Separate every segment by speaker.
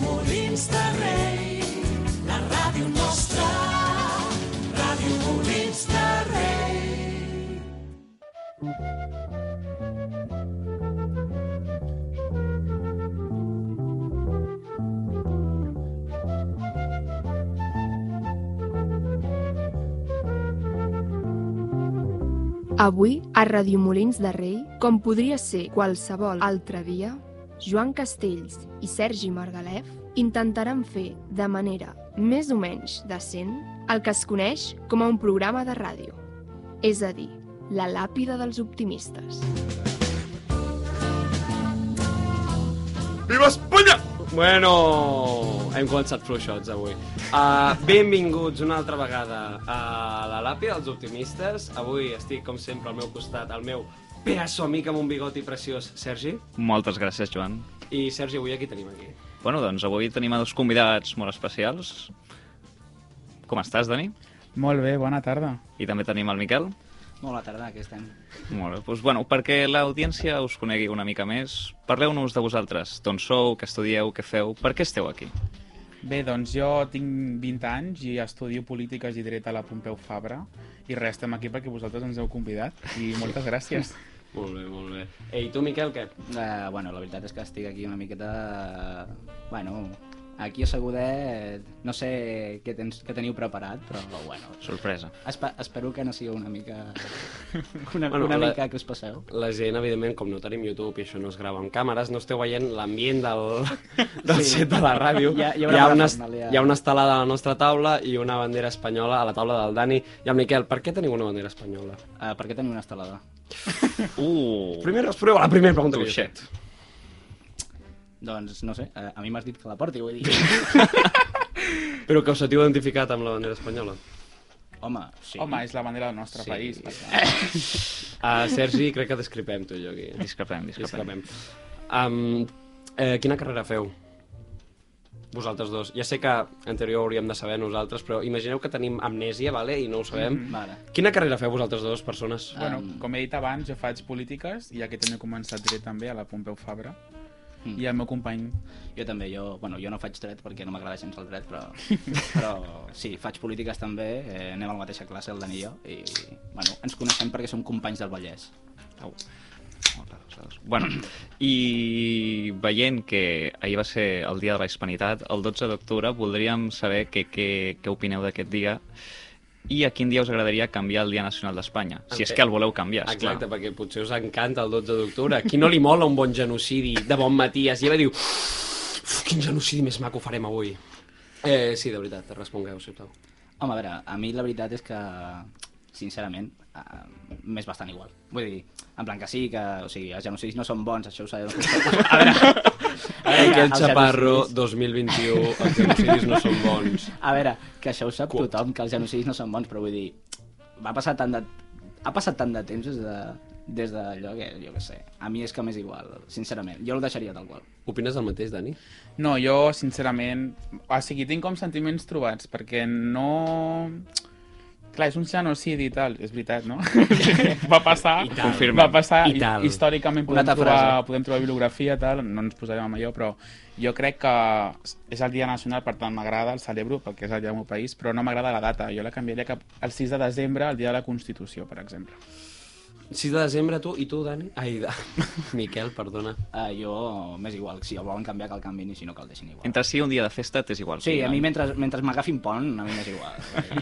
Speaker 1: Molins de Rei, la ràdio nostra, Ràdio Molins de Rei.
Speaker 2: Avui, a Radiomolins de Rei, com podria ser qualsevol altre dia, Joan Castells i Sergi Margalef intentaran fer, de manera més o menys decent, el que es coneix com a un programa de ràdio, és a dir, la làpida dels optimistes.
Speaker 3: Viva Espanya! Bueno, hem començat fluixots avui. Uh, benvinguts una altra vegada a la Làpia dels Optimistes. Avui estic, com sempre, al meu costat, el meu pedaço amic amb un bigoti preciós, Sergi.
Speaker 4: Moltes gràcies, Joan.
Speaker 3: I Sergi, avui aquí tenim aquí.
Speaker 4: Bueno, doncs avui tenim a dos convidats molt especials. Com estàs, Dani?
Speaker 5: Molt bé, bona tarda.
Speaker 4: I també tenim el Miquel.
Speaker 6: Molt a tarda, aquí estem.
Speaker 4: Molt bé. Doncs, bueno, perquè l'audiència us conegui una mica més, parleu-nos de vosaltres, d'on sou, què estudieu, què feu, per què esteu aquí?
Speaker 5: Bé, doncs jo tinc 20 anys i estudio Polítiques i Dret a la Pompeu Fabra i res, estem aquí perquè vosaltres ens heu convidat i moltes gràcies.
Speaker 3: Molt bé, molt bé. Ei, tu, Miquel, què?
Speaker 6: Uh, bueno, la veritat és que estic aquí una miqueta... eh, bueno, aquí a Segudet no sé què, tens, què teniu preparat, però bueno...
Speaker 4: Sorpresa.
Speaker 6: Espe espero que no sigui una mica... Una,
Speaker 3: Bueno,
Speaker 6: bueno, una
Speaker 3: la-
Speaker 6: mica que us passeu.
Speaker 3: La gent, evidentment, com no tenim YouTube i això no es grava amb càmeres, no esteu veient l'ambient del, del
Speaker 6: Sí.
Speaker 3: set de la ràdio.
Speaker 6: Hi ha- hi
Speaker 3: hi,
Speaker 6: haurà
Speaker 3: ha
Speaker 6: una
Speaker 3: una,
Speaker 6: parafernàlia.
Speaker 3: hi ha una estelada a la nostra taula i una bandera espanyola a la taula del Dani. I el Miquel, per què teniu una bandera espanyola?
Speaker 6: Uh, per què teniu una estelada?
Speaker 4: Uh!
Speaker 3: Primer, es prova la primera pregunta. que jo
Speaker 4: Tuixet.
Speaker 6: Doncs no sé, uh, a mi m'has dit que la porti, vull dir...
Speaker 3: faig. Però que us sentiu identificat amb la bandera espanyola.
Speaker 6: Home, sí.
Speaker 5: Sí. Home, és la bandera del nostre
Speaker 3: Sí.
Speaker 5: sí. país.
Speaker 3: Uh, Sergi, crec que discrepem tu i jo aquí.
Speaker 4: Discrepem,
Speaker 3: Discrepem.
Speaker 4: discrepem.
Speaker 3: Um, eh, quina carrera feu? Vosaltres dos. Ja sé que en teoria ho hauríem de saber nosaltres, però imagineu que tenim amnèsia, vale? i no ho sabem. Mm
Speaker 6: Vale.
Speaker 3: Quina carrera feu vosaltres dues persones?
Speaker 6: Mm-hmm. Ah.
Speaker 5: Bueno, com he dit abans, jo faig Polítiques i aquest any he començat Dret també a la Pompeu Fabra
Speaker 6: Mm.
Speaker 5: i el meu company.
Speaker 6: Jo també, jo, bueno, jo no faig dret perquè no m'agrada gens el dret, però, però sí, faig polítiques també, eh, anem a la mateixa classe, el Dani i jo, i bueno, ens coneixem perquè som companys del Vallès.
Speaker 4: Au. Bueno, i veient que ahir va ser el dia de la hispanitat, el 12 d'octubre, voldríem saber què què- què opineu d'aquest dia i a quin dia us agradaria canviar el Dia Nacional d'Espanya, si és
Speaker 3: Ente-
Speaker 4: que el voleu canviar, esclar.
Speaker 3: Exacte, perquè potser us encanta el 12 d'octubre. Qui no li mola un bon genocidi de bon matí? Es lleva i diu, "Uf, quin genocidi més maco farem avui. Eh, sí, de veritat, respongueu, sisplau.
Speaker 6: Home, a veure, a mi la veritat és que, sincerament, eh, m'és bastant igual. Vull dir, en plan que sí, que o sigui, els genocidis no són bons, això ho sabem. A veure, a
Speaker 3: Eh, Aquell
Speaker 6: els
Speaker 3: xaparro
Speaker 6: genocidis-
Speaker 3: 2021, els genocidis no són bons.
Speaker 6: A veure, que això ho sap tothom, que els genocidis no són bons, però vull dir, va passar tant de... ha passat tant de temps des de des d'allò que, jo què sé, a mi és que m'és igual, sincerament, jo el deixaria tal qual.
Speaker 3: Opines el mateix, Dani?
Speaker 5: No, jo, sincerament, o sigui, tinc com sentiments trobats, perquè no... Clar, és un genocidi i tal, és veritat, no? va passar,
Speaker 3: I tal.
Speaker 5: va passar,
Speaker 3: I tal.
Speaker 5: històricament podem
Speaker 6: Una altra
Speaker 5: trobar,
Speaker 6: frase.
Speaker 5: podem trobar bibliografia, tal, no ens posarem amb allò, però jo crec que és el Dia Nacional, per tant m'agrada, el celebro, perquè és el dia del meu país, però no m'agrada la data, jo la canviaria cap al 6 de desembre, el dia de la Constitució, per exemple.
Speaker 3: 6 de desembre, tu, i tu, Dani? Ai, da... Miquel, perdona.
Speaker 6: Uh, jo m'és igual, si el volen canviar que el canviïn i si no que el deixin igual.
Speaker 4: Entre si un dia de festa t'és igual.
Speaker 6: Sí, a mi mentre, mentre m'agafin pont, a mi m'és igual.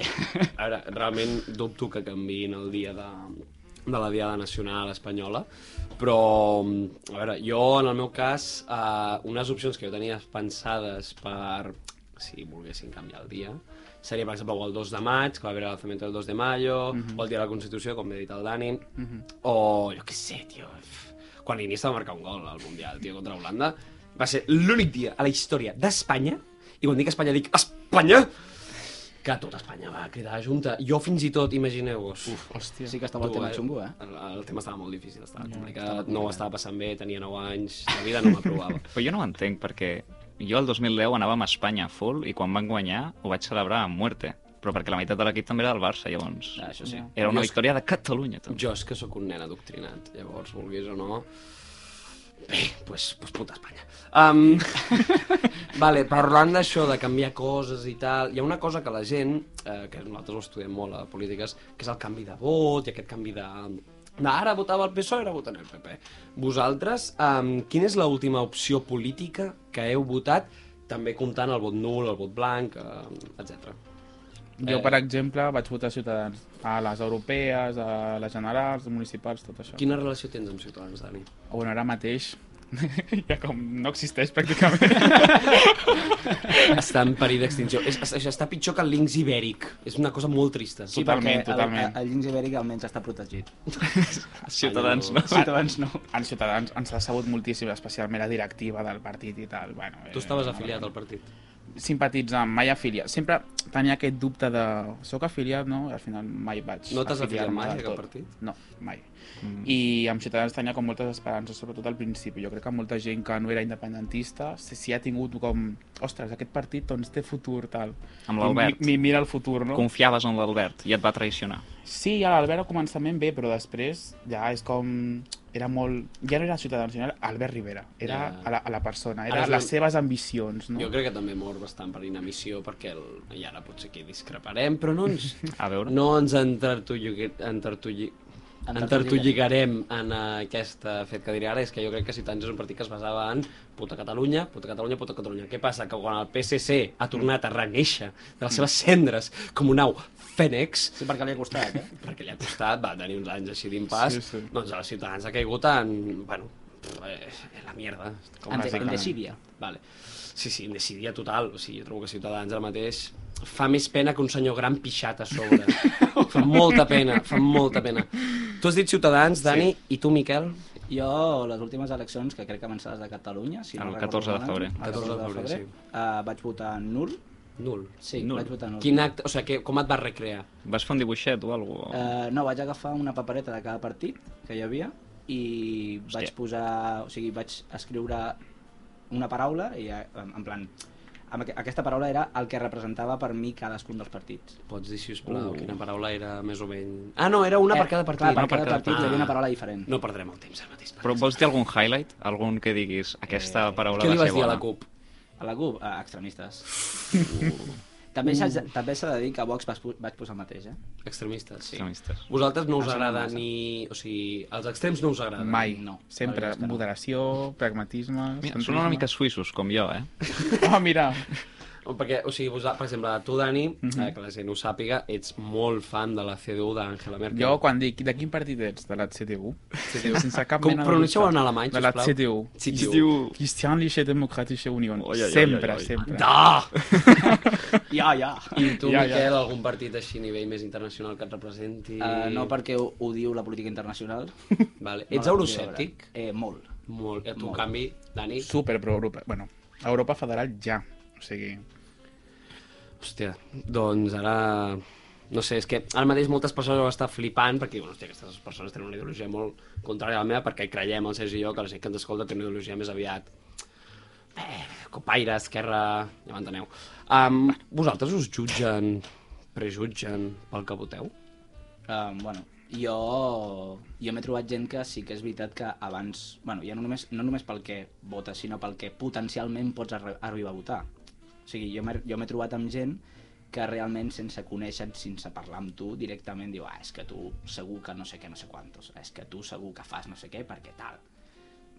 Speaker 3: Ara, realment dubto que canviïn el dia de, de la Diada Nacional Espanyola, però, a veure, jo, en el meu cas, eh, unes opcions que jo tenia pensades per, si volguessin canviar el dia, seria, per exemple, o el 2 de maig, que va haver l'alzament del 2 de mayo, o el dia de la Constitució, com he dit el Dani, o, jo què sé, tio, pf, quan l'Iniesta va marcar un gol al Mundial, tio, contra Holanda, va ser l'únic dia a la història d'Espanya, i quan dic Espanya dic Espanya, que tota Espanya va cridar junta. Jo fins i tot, imagineu-vos... Uf,
Speaker 5: Hòstia.
Speaker 6: sí que estava el tema xungo, eh?
Speaker 3: El, el tema estava molt difícil, estava complicat, no ho estava passant bé, tenia 9 anys, la vida no m'aprovava.
Speaker 4: Però jo no ho entenc, perquè jo el 2010 anàvem a Espanya full i quan van guanyar ho vaig celebrar a muerte. Però perquè la meitat de l'equip també era del Barça, llavors.
Speaker 6: Ah, això sí.
Speaker 4: Era
Speaker 3: Jo
Speaker 4: una
Speaker 3: és-
Speaker 4: victòria de Catalunya, també.
Speaker 3: Jo és que sóc un nen adoctrinat, llavors, vulguis o no... Bé, doncs pues, pues puta Espanya. Um, Vale, parlant d'això, de canviar coses i tal, hi ha una cosa que la gent, eh, que nosaltres ho estudiem molt a polítiques, que és el canvi de vot i aquest canvi de... de ara votava el PSOE, E, ara voten el PP. Vosaltres, eh, quina és l'última opció política que heu votat, també comptant el vot nul, el vot blanc, eh, etc.
Speaker 5: Jo,
Speaker 3: Eh.
Speaker 5: per exemple, vaig votar Ciutadans. A les europees, a les generals, municipals, tot això.
Speaker 3: Quina relació tens amb Ciutadans, Dani?
Speaker 5: Bueno, ara mateix ja com no existeix pràcticament.
Speaker 3: Està en perill d'extinció. És, és, està pitjor que el links ibèric. És una cosa molt trista.
Speaker 5: Sí, Totalment,
Speaker 6: perquè el-
Speaker 5: totalment.
Speaker 6: El, el Llinx Ibèric almenys està protegit.
Speaker 4: Ciutadans, no?
Speaker 6: Ciutadans no.
Speaker 5: En Ciutadans ens ha sabut moltíssim, especialment la directiva del partit i tal. Bueno, eh,
Speaker 3: Tu estaves afiliat al partit.
Speaker 5: Simpatitzant, mai afiliat. Sempre tenia aquest dubte de... Soc afiliat, no? Al final mai vaig
Speaker 3: No t'has afiliat
Speaker 5: afiliar-me
Speaker 3: mai
Speaker 5: del
Speaker 3: a cap
Speaker 5: tot.
Speaker 3: partit?
Speaker 5: No, mai.
Speaker 4: Mm.
Speaker 5: I amb Ciutadans tenia com moltes esperances, sobretot al principi. Jo crec que molta gent que no era independentista, si, si ha tingut com... Ostres, aquest partit doncs té futur, tal.
Speaker 4: Amb l'Albert.
Speaker 5: I Mi, mi, mira el futur, no?
Speaker 4: Confiaves en l'Albert i et va traicionar.
Speaker 5: Sí, a l'Albert al començament bé, però després ja és com... Era molt... Ja no era Ciutadans, sinó era Albert Rivera. Era
Speaker 3: Ja.
Speaker 5: a, la, a la persona,
Speaker 3: Ara
Speaker 5: era
Speaker 3: és
Speaker 5: les
Speaker 3: un-
Speaker 5: seves ambicions, no?
Speaker 3: Jo crec que també mor bastant per inamissió, perquè el... i ara potser que discreparem, però no ens,
Speaker 4: A veure.
Speaker 3: no ens entertulli- entertulli- entertolligarem en aquest eh, fet que diré ara, és que jo crec que Ciutadans és un partit que es basava en puta Catalunya, puta Catalunya, puta Catalunya. Què passa? Que quan el PSC ha tornat a reneixer de les seves cendres com un au fènex,
Speaker 6: Sí, perquè li ha costat, eh?
Speaker 3: perquè li ha costat, va tenir uns anys així d'impàs,
Speaker 5: Sí,
Speaker 3: sí, sí.
Speaker 5: sí.
Speaker 3: doncs a Ciutadans ha caigut en, bueno, pff, eh, en la mierda.
Speaker 6: En,
Speaker 5: bàsicament.
Speaker 6: en Decídia.
Speaker 3: Vale. Sí, sí, indecidia total. O sigui, jo trobo que Ciutadans ara mateix fa més pena que un senyor gran pixat a sobre. fa molta pena, fa molta pena. Tu has dit Ciutadans, Dani, sí. i tu, Miquel?
Speaker 6: Jo, les últimes eleccions, que crec que van ser les de Catalunya, si
Speaker 4: El
Speaker 6: no
Speaker 4: 14 de febrer.
Speaker 3: 14 de
Speaker 6: de
Speaker 3: febrer,
Speaker 6: febrer, eh, vaig votar nul.
Speaker 3: Nul.
Speaker 6: Sí,
Speaker 4: Nul.
Speaker 6: vaig votar nul.
Speaker 3: Quin acte, o sigui, que, com et vas recrear?
Speaker 4: Vas fer un dibuixet o alguna cosa?
Speaker 6: Eh, no, vaig agafar una papereta de cada partit que hi havia i Hòstia. vaig posar, o sigui, vaig escriure una paraula i eh, en en plan amb aqu- aquesta paraula era el que representava per mi cadascun dels partits.
Speaker 3: Pots dir, sisplau,
Speaker 4: Uh.
Speaker 3: uh. quina paraula era més o menys... Ah, no, era una per
Speaker 6: Eh,
Speaker 3: cada partit.
Speaker 6: Clar, per,
Speaker 3: no,
Speaker 6: cada, partit hi havia
Speaker 3: Ah.
Speaker 6: una paraula diferent.
Speaker 3: No perdrem el temps ara mateix.
Speaker 4: Però vols dir algun highlight? Algun que diguis aquesta paraula
Speaker 3: Què
Speaker 4: va
Speaker 3: li
Speaker 4: ser
Speaker 3: vas dir a
Speaker 4: bona?
Speaker 3: la CUP?
Speaker 6: A la CUP, eh, extremistes. També s'ha també s'ha de dir que a Vox vas, pu- vaig posar el mateix, eh?
Speaker 3: Extremistes, sí.
Speaker 4: Extremistes.
Speaker 3: Vosaltres no us
Speaker 6: Em sembla
Speaker 3: agrada
Speaker 6: massa.
Speaker 3: ni... O sigui, els extrems no us agraden.
Speaker 5: Mai.
Speaker 6: No, la
Speaker 5: Sempre
Speaker 6: veritat és que no.
Speaker 5: moderació, pragmatisme...
Speaker 4: Mira,
Speaker 5: centrisme.
Speaker 4: són una mica suïssos, com jo, eh?
Speaker 5: Ah, mira!
Speaker 3: O Perquè, o sigui, vosa, per exemple, tu, Dani,
Speaker 5: Mhm.
Speaker 3: eh, que la gent ho sàpiga, ets molt fan de la CDU d'Angela Merkel.
Speaker 5: Jo quan dic de quin partit ets? De la CDU?
Speaker 3: CDU.
Speaker 5: Sense cap
Speaker 3: Com
Speaker 5: mena de
Speaker 3: pronuncieu
Speaker 5: dubte.
Speaker 3: en alemany,
Speaker 5: De la
Speaker 3: sisplau?
Speaker 5: CDU.
Speaker 3: CDU.
Speaker 5: Christianliche Demokratische Union.
Speaker 4: Oi, oi, oi,
Speaker 5: sempre,
Speaker 4: oi, oi.
Speaker 5: sempre.
Speaker 3: Da!
Speaker 6: Ja, ja.
Speaker 3: I tu,
Speaker 5: Ja, ja.
Speaker 3: Miquel, algun partit així a nivell més internacional que et representi?
Speaker 6: Uh, no perquè ho, ho diu la política internacional.
Speaker 3: Vale.
Speaker 6: No
Speaker 3: Ets
Speaker 6: la
Speaker 3: euroscèptic?
Speaker 6: podria veure. Eh, molt.
Speaker 3: Molt. Eh, tu, en
Speaker 6: Molt.
Speaker 3: canvi, Dani...
Speaker 5: Super pro-Europa. Bueno, Europa federal ja. O sigui,
Speaker 3: Hòstia, doncs ara... No sé, és que ara mateix moltes persones ho estan flipant perquè diuen, hòstia, aquestes persones tenen una ideologia molt contrària a la meva perquè creiem, el Sergi i jo, que la gent que ens escolta té una ideologia més aviat eh, copaire, esquerra, ja m'enteneu. Um, vosaltres us jutgen, prejutgen pel que voteu?
Speaker 6: Um, bueno, jo, jo m'he trobat gent que sí que és veritat que abans... Bueno, ja no només, no només pel que votes, sinó pel que potencialment pots arri arribar a votar. O sigui, jo m'he jo m'he trobat amb gent que realment sense conèixer sense parlar amb tu, directament diu ah, és que tu segur que no sé què, no sé quantos, és que tu segur que fas no sé què perquè tal.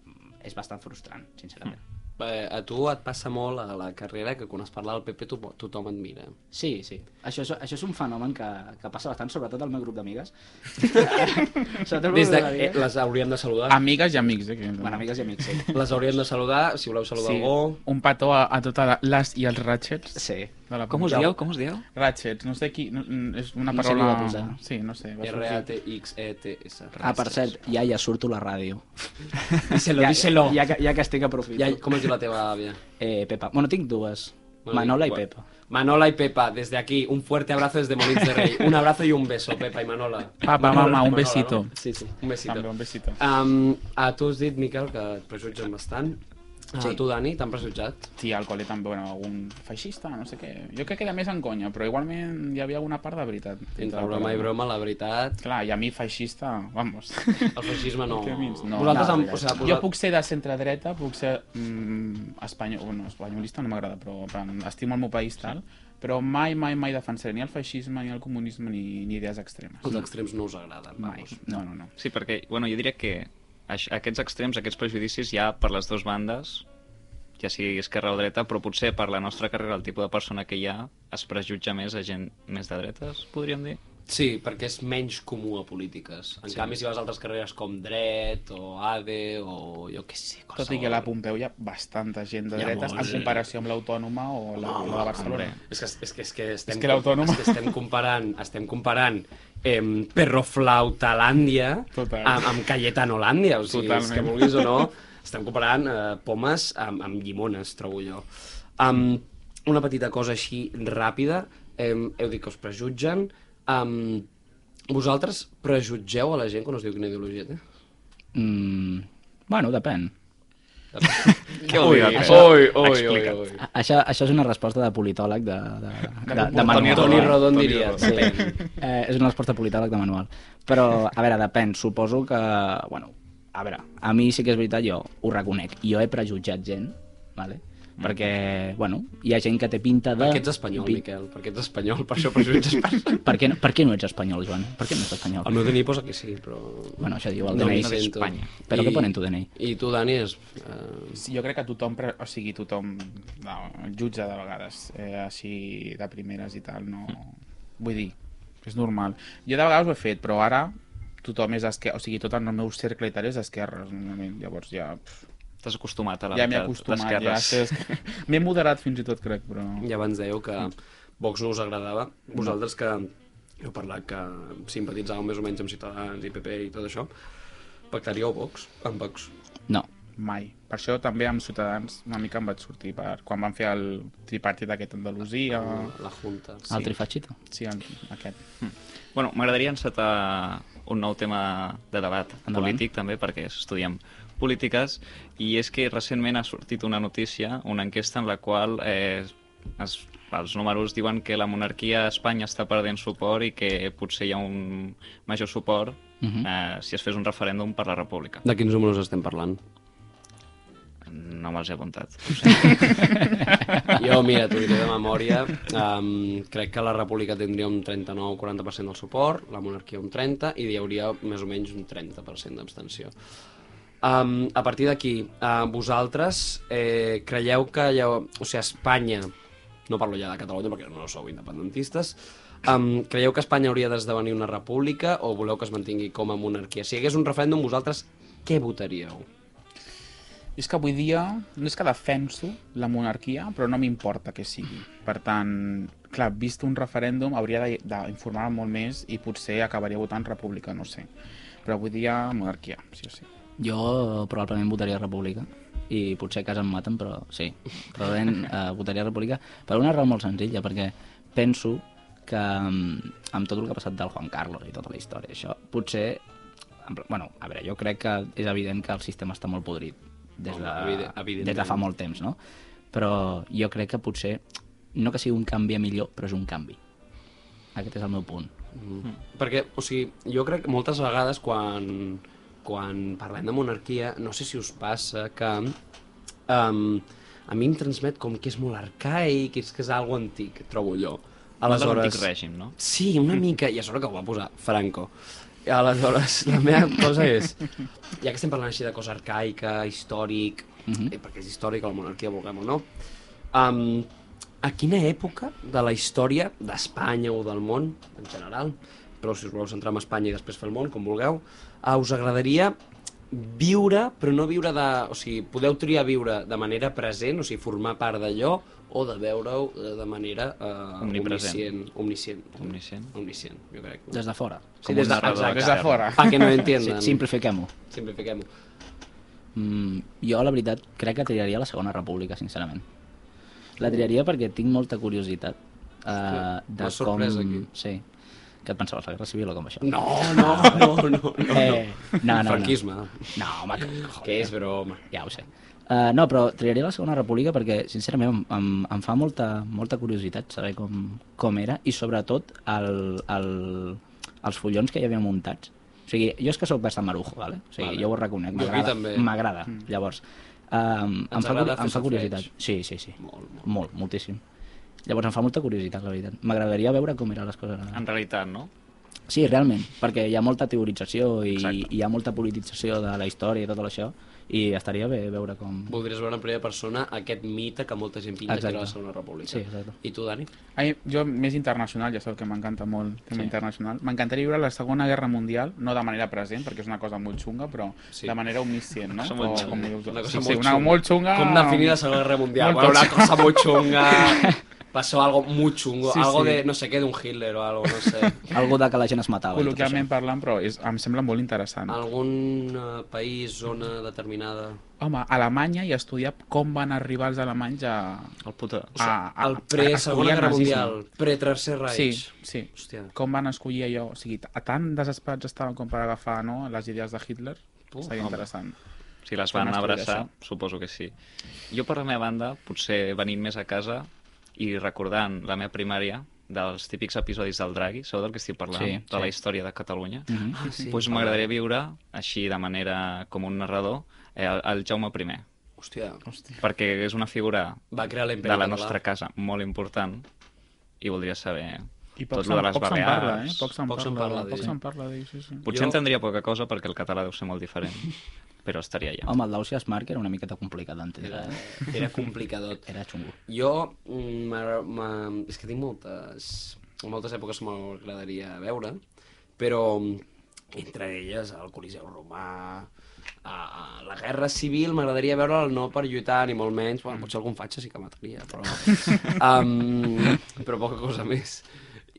Speaker 6: Mm, És bastant frustrant, sincerament. Mm.
Speaker 3: Eh, a tu et passa molt a la carrera que quan es parla del PP to tothom et mira.
Speaker 6: Sí, sí. Això és, això és un fenomen que, que passa bastant, sobretot al meu grup d'amigues. sobretot al meu
Speaker 3: Des de, eh,
Speaker 6: grup d'amigues.
Speaker 3: les hauríem de saludar.
Speaker 5: amigues i amics, eh? que-
Speaker 6: Bueno, amigues i amics, sí.
Speaker 3: Les hauríem de saludar, si voleu saludar
Speaker 5: Sí,
Speaker 3: algú.
Speaker 5: un petó a, a tota la, les i els ratchets.
Speaker 6: Sí.
Speaker 5: De la
Speaker 4: Com us
Speaker 5: pantalla.
Speaker 4: dieu? Com us dieu?
Speaker 5: Ratchets, no sé qui... No, mm, és una
Speaker 6: No sé
Speaker 5: paraula...
Speaker 6: qui ho va posar.
Speaker 5: sí, no sé. Va sortir.
Speaker 3: E R-A-T-X-E-T-S.
Speaker 6: Ah, per cert, ja ja surto a la ràdio.
Speaker 3: Díselo, díselo.
Speaker 6: Ja, ja, que- ja que estic aprofito.
Speaker 3: Ja, com es diu la teva àvia?
Speaker 6: Eh, Pepa. Bueno, tinc dues.
Speaker 3: Bueno,
Speaker 6: Manola i
Speaker 3: bueno.
Speaker 6: Pepa.
Speaker 3: Manola y Pepa, desde aquí, un fuerte abrazo desde Molins de Rey. Un abrazo y un beso, Pepa y Manola.
Speaker 5: Papa,
Speaker 3: Manola,
Speaker 5: mama, un
Speaker 3: Manola,
Speaker 5: besito.
Speaker 3: no?
Speaker 6: Sí, sí.
Speaker 3: Un besito.
Speaker 5: També un besito.
Speaker 3: Um, a tu has dit, Miquel, que et prejutgen bastant. Ah,
Speaker 6: Sí.
Speaker 3: Tu, Dani, t'han prejutjat?
Speaker 5: Sí, al col·le també, bueno, algun feixista, no sé què. Jo crec que era més en conya, però igualment hi havia alguna part de veritat.
Speaker 3: Entre broma i broma, la veritat,
Speaker 5: Clar, i a mi feixista, vamos.
Speaker 3: el feixisme no...
Speaker 5: Què mins? No,
Speaker 3: vosaltres,
Speaker 6: no,
Speaker 3: amb,
Speaker 6: no,
Speaker 3: o sigui,
Speaker 6: no.
Speaker 3: vosaltres...
Speaker 5: Jo puc ser de centre-dreta, puc ser mm, espanyol, bueno, espanyolista no m'agrada, però en plan, estimo el meu país tal, però mai, mai, mai defensaré ni el feixisme, ni el comunisme, ni, ni idees extremes.
Speaker 3: Els extrems no us agraden,
Speaker 5: Mai.
Speaker 3: vamos.
Speaker 5: No, no, no.
Speaker 4: Sí, perquè, bueno, jo diria que aix- aquests extrems, aquests prejudicis hi ha per les dues bandes, ja sigui esquerra o dreta, però potser per la nostra carrera, el tipus de persona que hi ha, es prejutja més a gent més de dretes, podríem dir.
Speaker 3: Sí, perquè és menys comú a polítiques. En sí. canvi, si vas a altres carreres com dret o ADE o jo què sé, qualsevol.
Speaker 5: Tot i que a la Pompeu hi ha bastanta gent de
Speaker 3: Hi ha
Speaker 5: dretes en
Speaker 3: molts, eh?
Speaker 5: comparació amb l'Autònoma o la, o la de Barcelona.
Speaker 3: És que, és que, és que estem,
Speaker 5: És que l'autònoma.
Speaker 3: és que estem comparant, estem comparant em, Perroflautalàndia
Speaker 5: Total.
Speaker 3: amb, amb Cayetanolàndia, o sigui, és que
Speaker 5: Totalment.
Speaker 3: vulguis o no, estem comparant eh, pomes amb, amb llimones, trobo jo. Um, una petita cosa així ràpida, um, heu dit que us prejutgen, um, vosaltres prejutgeu a la gent quan us diu quina ideologia té?
Speaker 6: Mm, bueno, depèn.
Speaker 4: Què vol dir? Això?
Speaker 3: ui,
Speaker 4: Explica't.
Speaker 6: A- Això, això és una resposta de politòleg de, de, de, de, de
Speaker 3: Toni,
Speaker 6: manual.
Speaker 3: Toni
Speaker 6: eh?
Speaker 3: Rodon diria.
Speaker 6: Sí, eh, és una resposta politòleg de manual. Però, a veure, depèn. Suposo que, bueno, a veure, a mi sí que és veritat, jo ho reconec. Jo he prejutjat gent, vale? perquè, bueno, hi ha gent que té pinta de...
Speaker 3: Per què Mm. ets espanyol,
Speaker 6: Pi-
Speaker 3: Miquel? Per què ets espanyol? Per això prejutges per...
Speaker 6: Per què, no- per què no ets espanyol, Joan? Per què no ets espanyol?
Speaker 3: El meu DNI posa que sí, però...
Speaker 6: Bueno, això diu el
Speaker 3: No
Speaker 6: DNI.
Speaker 3: ho sento.
Speaker 4: Espanya.
Speaker 6: Però què pone en tu DNI?
Speaker 3: I tu, Dani, és... Eh,
Speaker 5: Sí, jo crec que tothom, pre- o sigui, tothom no, jutja de vegades, eh, així de primeres i tal, no... Vull dir, és normal. Jo de vegades ho he fet, però ara tothom és esquerra, o sigui, tot el meu cercle i tal és d'esquerra, normalment. Llavors ja... Pff,
Speaker 4: T'has acostumat a la
Speaker 5: ja m'he
Speaker 4: veritat,
Speaker 5: acostumat, ja
Speaker 4: d'esquerres.
Speaker 5: sé... que- M'he moderat fins i tot, crec, però...
Speaker 3: ja abans dèieu que Vox no us agradava. Vosaltres que heu parlat que simpatitzàveu més o menys amb Ciutadans i PP i tot això, pactaríeu Vox? Amb Vox?
Speaker 6: No.
Speaker 5: Mai. Per això també amb Ciutadans una mica em vaig sortir per quan van fer el tripartit aquest a Andalusia...
Speaker 3: La Junta.
Speaker 6: El trifachito.
Speaker 5: Sí, el, aquest.
Speaker 4: Bueno, m'agradaria encetar un nou tema de debat
Speaker 6: Endavant.
Speaker 4: polític, també, perquè estudiem polítiques, i és que recentment ha sortit una notícia, una enquesta en la qual eh, es, els números diuen que la monarquia a Espanya està perdent suport i que potser hi ha un major suport
Speaker 6: Mhm.
Speaker 4: eh, si es fes un referèndum per la república.
Speaker 3: De quins números estem parlant?
Speaker 4: No me'ls he apuntat.
Speaker 3: Jo, mira, t'ho diré de memòria, um, crec que la república tindria un 39-40% del suport, la monarquia un 30% i hi hauria més o menys un 30% d'abstenció. Um, a partir d'aquí, uh, vosaltres eh, creieu que allò, o sigui, Espanya, no parlo ja de Catalunya perquè no sou independentistes, um, creieu que Espanya hauria d'esdevenir una república o voleu que es mantingui com a monarquia? Si hi hagués un referèndum, vosaltres què votaríeu?
Speaker 5: És que avui dia, no és que defenso la monarquia, però no m'importa que sigui. Per tant, clar, vist un referèndum, hauria de- d'informar-me molt més i potser acabaria votant república, no ho sé. Però avui dia, monarquia, sí o sí.
Speaker 6: Jo probablement votaria República i potser a casa em maten, però sí. Probablement eh, votaria República per una raó molt senzilla, perquè penso que mm, amb tot el que ha passat del Juan Carlos i tota la història, això potser... en pla- Bueno, a veure, jo crec que és evident que el sistema està molt podrit des de,
Speaker 3: Home, evide-
Speaker 6: des de
Speaker 3: evidentment.
Speaker 6: fa molt temps, no? Però jo crec que potser, no que sigui un canvi a millor, però és un canvi. Aquest és el meu punt.
Speaker 3: Perquè, o sigui, jo crec que moltes vegades quan, quan parlem de monarquia, no sé si us passa que um, a mi em transmet com que és molt arcaic, és que és algo antic, trobo jo.
Speaker 4: L'antic règim, no?
Speaker 3: Sí, una mica, i a sobre que ho va posar Franco. I aleshores, la meva cosa és, ja que estem parlant així de cosa arcaica, històric, mm
Speaker 6: Mhm.
Speaker 3: -hmm. perquè és històric la monarquia, vulguem o no, um, a quina època de la història d'Espanya o del món, en general, però si us voleu centrar en Espanya i després fer el món, com vulgueu, uh, us agradaria viure, però no viure de... O sigui, podeu triar viure de manera present, o sigui, formar part d'allò, o de veure-ho eh, de manera eh,
Speaker 4: Omnipresent.
Speaker 3: omniscient, omniscient.
Speaker 4: Omniscient.
Speaker 3: Omniscient, jo crec.
Speaker 6: Des de fora.
Speaker 3: Sí, des de,
Speaker 4: narrador
Speaker 3: exacte.
Speaker 5: Des de fora.
Speaker 3: Pa que no
Speaker 6: Sí,
Speaker 3: entiendan.
Speaker 6: simplifiquem-ho.
Speaker 3: Simplifiquem-ho.
Speaker 6: Mm, jo, la veritat, crec que triaria la Segona República, sincerament. La triaria perquè tinc molta curiositat. Uh, de
Speaker 3: m'has sorprès,
Speaker 6: com...
Speaker 3: aquí.
Speaker 6: Sí. Què et pensaves, la Guerra Civil o com això?
Speaker 3: No, no, no, no, no. no.
Speaker 6: Eh, no, no, no.
Speaker 3: Franquisme.
Speaker 6: No, home, que,
Speaker 3: Que és broma.
Speaker 6: ja ho sé. Uh, no, però triaré la Segona República perquè, sincerament, em, em, em fa molta, molta curiositat saber com, com era i, sobretot, el, el, els fullons que hi havia muntats. O sigui, jo és que sóc bastant marujo, vale? o sigui,
Speaker 3: Vale.
Speaker 6: vale. jo ho reconec,
Speaker 3: Jo aquí
Speaker 6: m'agrada.
Speaker 3: també.
Speaker 6: M'agrada, mm. llavors. Um, em,
Speaker 3: Ens
Speaker 6: fa,
Speaker 3: agrada
Speaker 6: curi-
Speaker 3: fer
Speaker 6: em fa curiositat.
Speaker 3: safreig.
Speaker 6: Sí, sí, sí.
Speaker 3: Molt, molt.
Speaker 6: Molt, moltíssim. Llavors em fa molta curiositat, la veritat. M'agradaria veure com eren les coses.
Speaker 4: En realitat, no?
Speaker 6: Sí, realment, perquè hi ha molta teorització i
Speaker 4: Exacte.
Speaker 6: hi ha molta politització de la història i tot això, i estaria bé veure com...
Speaker 3: Voldries veure en primera persona aquest mite que molta gent pinta que
Speaker 6: Exacte.
Speaker 3: era la Segona República.
Speaker 6: Sí, exacte.
Speaker 3: I tu, Dani?
Speaker 5: Ai, jo més internacional, ja sabeu que m'encanta molt el tema
Speaker 6: Sí.
Speaker 5: internacional. M'encantaria viure la Segona Guerra Mundial, no de manera present, perquè és una cosa molt xunga, però
Speaker 3: Sí.
Speaker 5: de manera omniscient,
Speaker 4: Una
Speaker 5: no?
Speaker 4: cosa molt
Speaker 5: O
Speaker 4: xunga.
Speaker 5: com dius-
Speaker 3: Una cosa
Speaker 5: sí, sí,
Speaker 3: molt
Speaker 5: una
Speaker 3: xunga.
Speaker 5: molt xunga.
Speaker 3: Com definir la Segona Guerra Mundial?
Speaker 5: Ah, Molt
Speaker 3: Bueno, una
Speaker 5: xunga.
Speaker 3: cosa muy chunga, pasó algo muy chungo,
Speaker 5: Sí,
Speaker 3: algo
Speaker 5: sí.
Speaker 3: de, no sé qué, de un Hitler o algo, no sé.
Speaker 6: Algo de que la gent es matava. i tot
Speaker 5: Col·loquialment parlant, però és, em sembla molt interessant.
Speaker 3: Algun eh, país, zona determinada...
Speaker 5: Home, a Alemanya i estudiar com van arribar els alemanys a...
Speaker 4: El puta...
Speaker 5: a, a
Speaker 3: El
Speaker 5: a- a
Speaker 3: pre-Segona
Speaker 5: escollir el
Speaker 3: Guerra
Speaker 5: nazisme.
Speaker 3: Mundial, pre-Tercer Reich.
Speaker 5: Sí, sí.
Speaker 3: Hòstia.
Speaker 5: Com van escollir allò? O sigui, t- tan desesperats estaven com per agafar no, les idees de Hitler.
Speaker 3: Puf,
Speaker 5: Seria
Speaker 4: home.
Speaker 5: interessant.
Speaker 4: Si les
Speaker 5: Com
Speaker 4: van
Speaker 5: es podria
Speaker 4: abraçar,
Speaker 5: això?
Speaker 4: suposo que sí. Jo, per la meva banda, potser venint més a casa i recordant la meva primària dels típics episodis del Draghi, sabeu del que estic parlant?
Speaker 6: Sí,
Speaker 4: de la
Speaker 6: sí.
Speaker 4: història de Catalunya.
Speaker 6: Això. Mhm.
Speaker 3: Ah, sí.
Speaker 4: Doncs m'agradaria viure, així de manera com un narrador, eh, el, el Jaume I,
Speaker 3: Hòstia.
Speaker 5: Hòstia.
Speaker 4: perquè és una figura
Speaker 3: Va crear l'imperi
Speaker 4: de la
Speaker 3: català.
Speaker 4: nostra casa molt important i voldria saber
Speaker 5: I
Speaker 4: tot
Speaker 5: poc
Speaker 4: lo de
Speaker 5: se'n
Speaker 4: les
Speaker 5: poc se'n parla, eh?
Speaker 4: Balears.
Speaker 5: Poc se'n
Speaker 3: Poc se'n
Speaker 5: parla,
Speaker 3: parla
Speaker 5: poc
Speaker 3: d'ell.
Speaker 5: se'n parla d'ell, sí, sí.
Speaker 4: Potser
Speaker 3: Jo-
Speaker 4: entendria poca cosa perquè el català deu ser molt diferent, però estaria allà.
Speaker 6: Home, el d'Ausias Mark era una miqueta complicat d'entendre.
Speaker 3: Era,
Speaker 6: eh?
Speaker 3: era complicadot.
Speaker 6: Era xungo.
Speaker 3: Jo, mm, m'agra- m'ha- és que tinc moltes, moltes èpoques que m'agradaria veure, però mm, entre elles el Coliseu Romà, a, a la Guerra Civil m'agradaria veure'l no per lluitar ni molt menys, bueno, potser algun fatxa sí que mataria, però, um, però poca cosa més.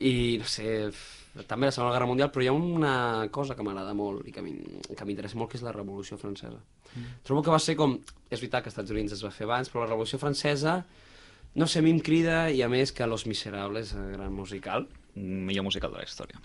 Speaker 3: I no sé, f- també la Segona Guerra Mundial, però hi ha una cosa que m'agrada molt i que m'in- que m'interessa molt, que és la Revolució Francesa. Trobo que va ser com... És veritat que als Estats Units es va fer abans, però la Revolució Francesa, no sé, a mi em crida, i a més que Los Miserables, eh, gran musical,
Speaker 4: Millor musical de la història.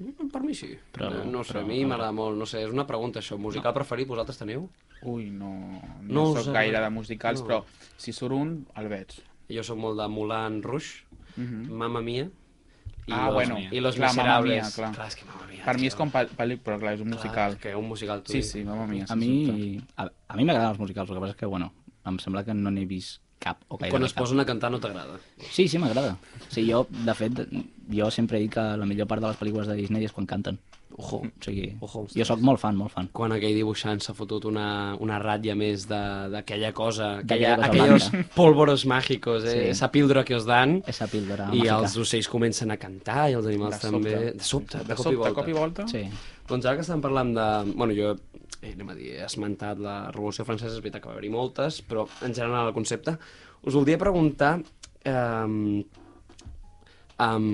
Speaker 3: mm, per mi sí.
Speaker 4: Però-
Speaker 3: no, no ho sé,
Speaker 4: però-
Speaker 3: a mi m'agrada molt, no sé, és una pregunta això, musical no. preferit vosaltres teniu?
Speaker 5: Ui, no,
Speaker 3: No
Speaker 5: no,
Speaker 3: us
Speaker 5: no sóc
Speaker 3: agrada.
Speaker 5: gaire de musicals,
Speaker 3: No.
Speaker 5: no. però si surt un, el veig.
Speaker 3: Jo sóc molt de Moulin Rouge, mm -hmm. Mamma Mia, i
Speaker 5: Mhm. Ah,
Speaker 3: los,
Speaker 5: bueno,
Speaker 3: i los
Speaker 5: clar, Mamma Mia,
Speaker 3: Miserables.
Speaker 5: clar.
Speaker 3: és que Mamma Mia,
Speaker 5: Per mi és
Speaker 3: tio.
Speaker 5: com pel, pel, però clar, és un
Speaker 3: Clar,
Speaker 5: musical.
Speaker 3: Que un musical tu
Speaker 5: Sí,
Speaker 3: dius.
Speaker 5: sí, mamma mia.
Speaker 6: A mi, a, a mi m'agraden els musicals, el que passa és que, bueno, em sembla que no n'he vist cap o gairebé
Speaker 3: Quan es
Speaker 6: cap.
Speaker 3: posen a cantar no t'agrada.
Speaker 6: Sí, sí, m'agrada. Sí, jo, de fet, jo sempre he dit que la millor part de les pel·lícules de Disney és quan canten. Ojo. O sigui,
Speaker 3: Ojo,
Speaker 6: jo sóc molt fan, molt fan.
Speaker 3: quan aquell dibuixant s'ha fotut una, una ratlla més de- d'aquella cosa,
Speaker 6: D'aquella
Speaker 3: aquella,
Speaker 6: cosa
Speaker 3: aquellos
Speaker 6: blanca.
Speaker 3: pólvoros mágicos, eh?
Speaker 6: Sí.
Speaker 3: sí. esa píldora que us dan,
Speaker 6: Esa píldora
Speaker 3: i
Speaker 6: màgica.
Speaker 3: els ocells comencen a cantar, i els animals
Speaker 5: De
Speaker 3: també...
Speaker 5: sobte.
Speaker 3: De sobte, de,
Speaker 5: De sobte, cop i volta?
Speaker 6: Sí.
Speaker 3: Doncs ara que estem parlant de... Bueno, jo eh, anem a dir, he esmentat la Revolució Francesa, és veritat que va haver-hi moltes, però en general el concepte. Us voldria preguntar eh, um,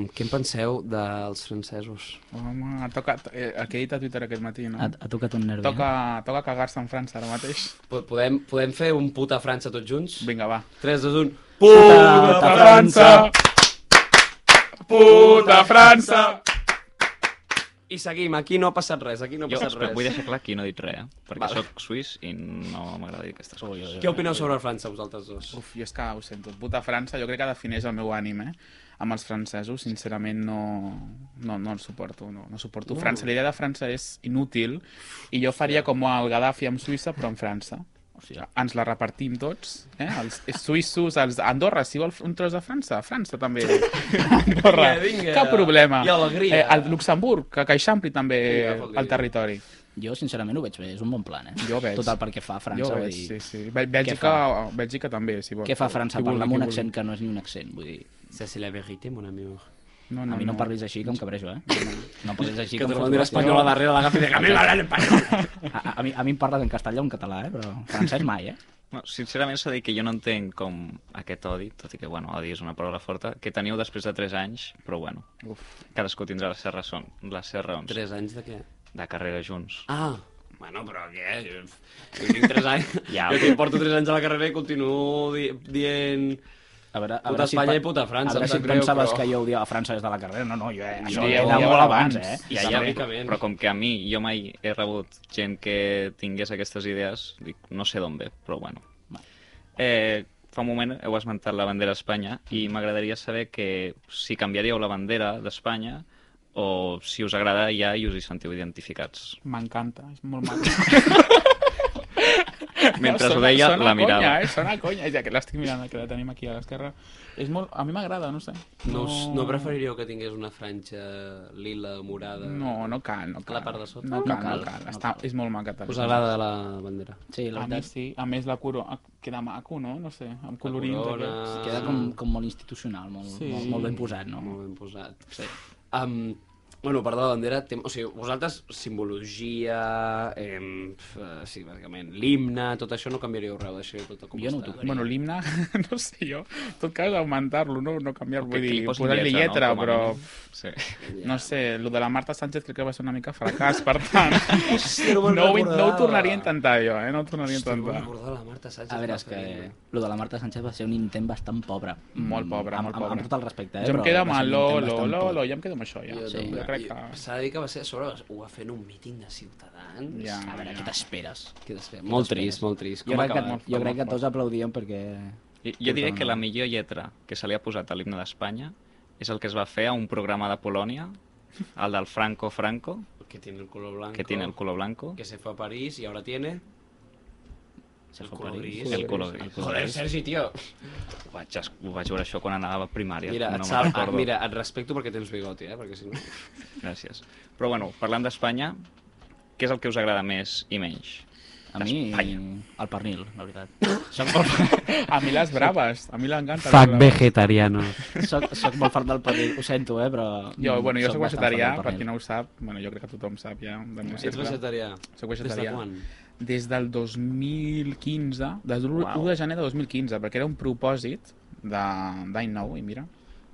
Speaker 3: què en penseu dels francesos?
Speaker 5: Home, ha tocat... Eh, el que he dit a Twitter aquest matí, no?
Speaker 6: Ha, ha tocat un nervi. eh?
Speaker 5: Toca, toca cagar-se en França ara mateix.
Speaker 3: Po- Podem, podem fer un puta França tots junts?
Speaker 5: Vinga, va.
Speaker 3: 3, 2, 1... Puta
Speaker 6: Puta
Speaker 3: França!
Speaker 5: Puta França!
Speaker 3: I seguim, aquí no ha passat res, aquí no ha
Speaker 4: Jo
Speaker 3: passat res.
Speaker 4: vull deixar clar que no he dit res, eh? perquè
Speaker 3: Vale. Oh,
Speaker 4: sóc suís i no m'agrada dir aquestes coses.
Speaker 3: Què opineu sobre França, vosaltres dos?
Speaker 5: Uf, jo és que ho sento. Puta França jo crec que defineix el meu ànim, eh? Amb els francesos, sincerament, no, no, no el suporto. No, no suporto França. La idea de França és inútil i jo faria com el Gaddafi amb Suïssa, però amb França. O sigui, ens la repartim tots, eh? Els suïssos, els Andorra, si vol un tros de França, França també. Andorra,
Speaker 3: Vinga, vinga.
Speaker 5: cap problema.
Speaker 3: I alegria.
Speaker 5: Eh, el Luxemburg, que, que eixampli també
Speaker 3: Vinga, fot-li.
Speaker 5: el territori.
Speaker 6: Jo, sincerament, ho veig bé. És un bon plan, eh?
Speaker 5: Jo ho veig.
Speaker 6: Total, perquè fa França.
Speaker 5: jo ho
Speaker 6: vull
Speaker 5: veig,
Speaker 6: dir,
Speaker 5: sí, sí. Bè- Bèlgica, Bèlgica també, si vols.
Speaker 6: Què fa França?
Speaker 5: Qui vulgui,
Speaker 6: Parla amb un
Speaker 5: qui vulgui.
Speaker 6: accent que no és ni un accent. Vull dir,
Speaker 3: Ça, c'est la vérité, mon amour.
Speaker 5: No,
Speaker 6: a mi no em parlis així, que em cabrejo, eh? No em parlis així,
Speaker 3: Que
Speaker 6: em
Speaker 3: te la
Speaker 6: foto
Speaker 3: bandera
Speaker 6: gràcia.
Speaker 3: espanyola darrere l'agafi de camí, l'hora en espanyol.
Speaker 6: A, a, a, mi, a mi em parles en castellà o en català, eh? Però francès mai, eh?
Speaker 4: No, sincerament s'ha de dir que jo no entenc com aquest odi, tot i que, bueno, odi és una paraula forta, que teniu després de 3 anys, però bueno,
Speaker 5: Uf.
Speaker 4: cadascú tindrà les seves raons, les seves raons
Speaker 3: Tres anys de què?
Speaker 4: de carrera junts.
Speaker 3: Ah, bueno, però què? Jo, jo tinc tres anys...
Speaker 4: Ja.
Speaker 3: jo tinc, porto tres anys a la carrera i continuo di dient...
Speaker 6: A veure, a
Speaker 3: Puta
Speaker 6: veure si
Speaker 3: Espanya
Speaker 6: pe-
Speaker 3: i puta França, em
Speaker 6: A veure si
Speaker 3: sap
Speaker 6: et
Speaker 3: greu,
Speaker 6: pensaves
Speaker 3: però-
Speaker 6: que jo odiava França des de la carrera. No, no, jo eh,
Speaker 5: Jo
Speaker 6: això era
Speaker 5: odiava
Speaker 6: molt abans,
Speaker 5: abans.
Speaker 6: eh?
Speaker 4: I
Speaker 3: Ja,
Speaker 4: allà,
Speaker 3: lògicament.
Speaker 4: però com que a mi, jo mai he rebut gent que tingués aquestes idees, dic, no sé d'on ve, però bueno, Eh, fa un moment heu esmentat la bandera d'Espanya i
Speaker 5: Mm.
Speaker 4: m'agradaria saber que si canviaríeu la bandera d'Espanya o si us agrada ja i us hi sentiu identificats.
Speaker 5: M'encanta, és molt maco.
Speaker 4: Mentre
Speaker 5: No,
Speaker 4: ho deia,
Speaker 5: sona
Speaker 4: la
Speaker 5: a conya,
Speaker 4: mirava.
Speaker 5: eh? Sona a conya, ja que l'estic mirant, que la tenim aquí a l'esquerra. És molt... A mi m'agrada, no ho sé.
Speaker 3: No, us- no preferiríeu que tingués una franja lila, morada?
Speaker 5: No, no cal, no cal.
Speaker 3: La part de sota?
Speaker 5: No cal, no cal.
Speaker 6: No cal.
Speaker 5: Està, és molt maca. tal
Speaker 3: Us
Speaker 5: com
Speaker 3: agrada la bandera?
Speaker 6: Sí, la
Speaker 5: A mi
Speaker 6: veritat,
Speaker 5: sí, a més la coro... queda maco, no? No sé, amb colorins
Speaker 3: corona.
Speaker 5: aquests.
Speaker 6: queda com, com molt institucional, molt,
Speaker 5: Sí.
Speaker 6: molt, molt ben posat, no?
Speaker 3: Molt ben posat. Sí. Um, bueno, part de la bandera, tem... o sigui, vosaltres, simbologia, em, f- eh, sí, bàsicament, l'himne, tot això no canviaríeu res, ho deixaríeu tot com
Speaker 6: Jo no ho
Speaker 3: està.
Speaker 6: tocaria.
Speaker 5: Bueno, l'himne, no sé jo, en tot cas augmentar-lo, no, no canviar-lo,
Speaker 4: Que-
Speaker 5: vull
Speaker 4: que
Speaker 5: dir,
Speaker 4: li posin
Speaker 5: posar-li
Speaker 4: lletra,
Speaker 5: lletra,
Speaker 4: no? Com a
Speaker 5: però
Speaker 4: mínim. Sí.
Speaker 5: no sé, lo de la Marta Sánchez crec que va ser una mica fracàs, per tant,
Speaker 3: no
Speaker 5: no,
Speaker 3: me'n
Speaker 5: ho, no ho
Speaker 3: recordava.
Speaker 5: tornaria a intentar jo, eh? no ho tornaria a
Speaker 3: Hòstia, no me'n
Speaker 5: intentar.
Speaker 3: recordava la Marta Sánchez.
Speaker 6: A veure,
Speaker 3: va
Speaker 6: és
Speaker 3: fer
Speaker 6: que
Speaker 3: l'himne.
Speaker 6: lo de la Marta Sánchez va ser un intent bastant pobre.
Speaker 5: Molt
Speaker 6: Mm,
Speaker 5: pobre,
Speaker 6: amb,
Speaker 5: molt
Speaker 6: amb-
Speaker 5: pobre.
Speaker 6: Amb tot el respecte, eh?
Speaker 5: Jo em
Speaker 6: però
Speaker 5: quedo
Speaker 6: va
Speaker 5: amb
Speaker 6: ser
Speaker 5: el
Speaker 6: un intent
Speaker 5: Lolo,
Speaker 6: bastant
Speaker 5: Lolo,
Speaker 6: pobre.
Speaker 5: jo em quedo amb això, ja.
Speaker 3: Jo
Speaker 5: Sí,
Speaker 3: també.
Speaker 5: jo crec
Speaker 3: I
Speaker 5: que...
Speaker 3: S'ha de dir que va ser, a sobre, ho va fer en un míting de Ciutadans.
Speaker 5: Ja,
Speaker 6: A veure,
Speaker 5: ja.
Speaker 6: què t'esperes?
Speaker 3: Què després? Molt trist, molt trist.
Speaker 6: Jo
Speaker 3: Com ha
Speaker 6: crec, que,
Speaker 3: acabat?
Speaker 6: jo crec que
Speaker 5: Molt
Speaker 6: tots aplaudien perquè...
Speaker 4: Jo, jo diré
Speaker 6: Totalment.
Speaker 4: que la millor lletra que se li ha posat a l'himne d'Espanya és el que es va fer a un programa de Polònia, el del Franco Franco,
Speaker 3: Que tiene el color blanco.
Speaker 4: que tiene el color blanco.
Speaker 3: Que se fue a París y ahora tiene...
Speaker 4: Se
Speaker 3: el
Speaker 4: fue a
Speaker 3: color
Speaker 4: París.
Speaker 3: gris.
Speaker 4: El color gris. El color
Speaker 3: Joder,
Speaker 4: gris.
Speaker 3: Sergi, tio.
Speaker 4: Ho vaig, es- ho vaig veure això quan anava a primària.
Speaker 3: Mira,
Speaker 4: no
Speaker 3: et
Speaker 4: me'n
Speaker 3: sal... ah,
Speaker 4: recordo.
Speaker 3: mira, et respecto perquè tens bigoti, eh? Perquè si no...
Speaker 4: Gràcies. Però bueno, parlant d'Espanya, què és el que us agrada més i menys?
Speaker 6: A mi,
Speaker 4: D'Espanya.
Speaker 6: el pernil, la veritat.
Speaker 4: Soc molt,
Speaker 5: A mi les braves, a mi l'encanta.
Speaker 3: vegetariano.
Speaker 6: soc, soc molt fart del pernil, ho sento, eh, però...
Speaker 5: Jo, bueno, jo
Speaker 6: soc
Speaker 5: soc
Speaker 6: bastant
Speaker 5: vegetarià,
Speaker 6: fan del
Speaker 5: per
Speaker 6: pernil.
Speaker 5: qui no ho sap, bueno, jo crec que tothom sap ja. De meu
Speaker 3: Ets
Speaker 5: cercle.
Speaker 3: vegetarià?
Speaker 5: Soc
Speaker 3: Des de
Speaker 5: vegetarià.
Speaker 3: quan?
Speaker 5: des del 2015, des de l'1
Speaker 4: Uau.
Speaker 5: de gener de 2015, perquè era un propòsit de- d'any nou, i mira.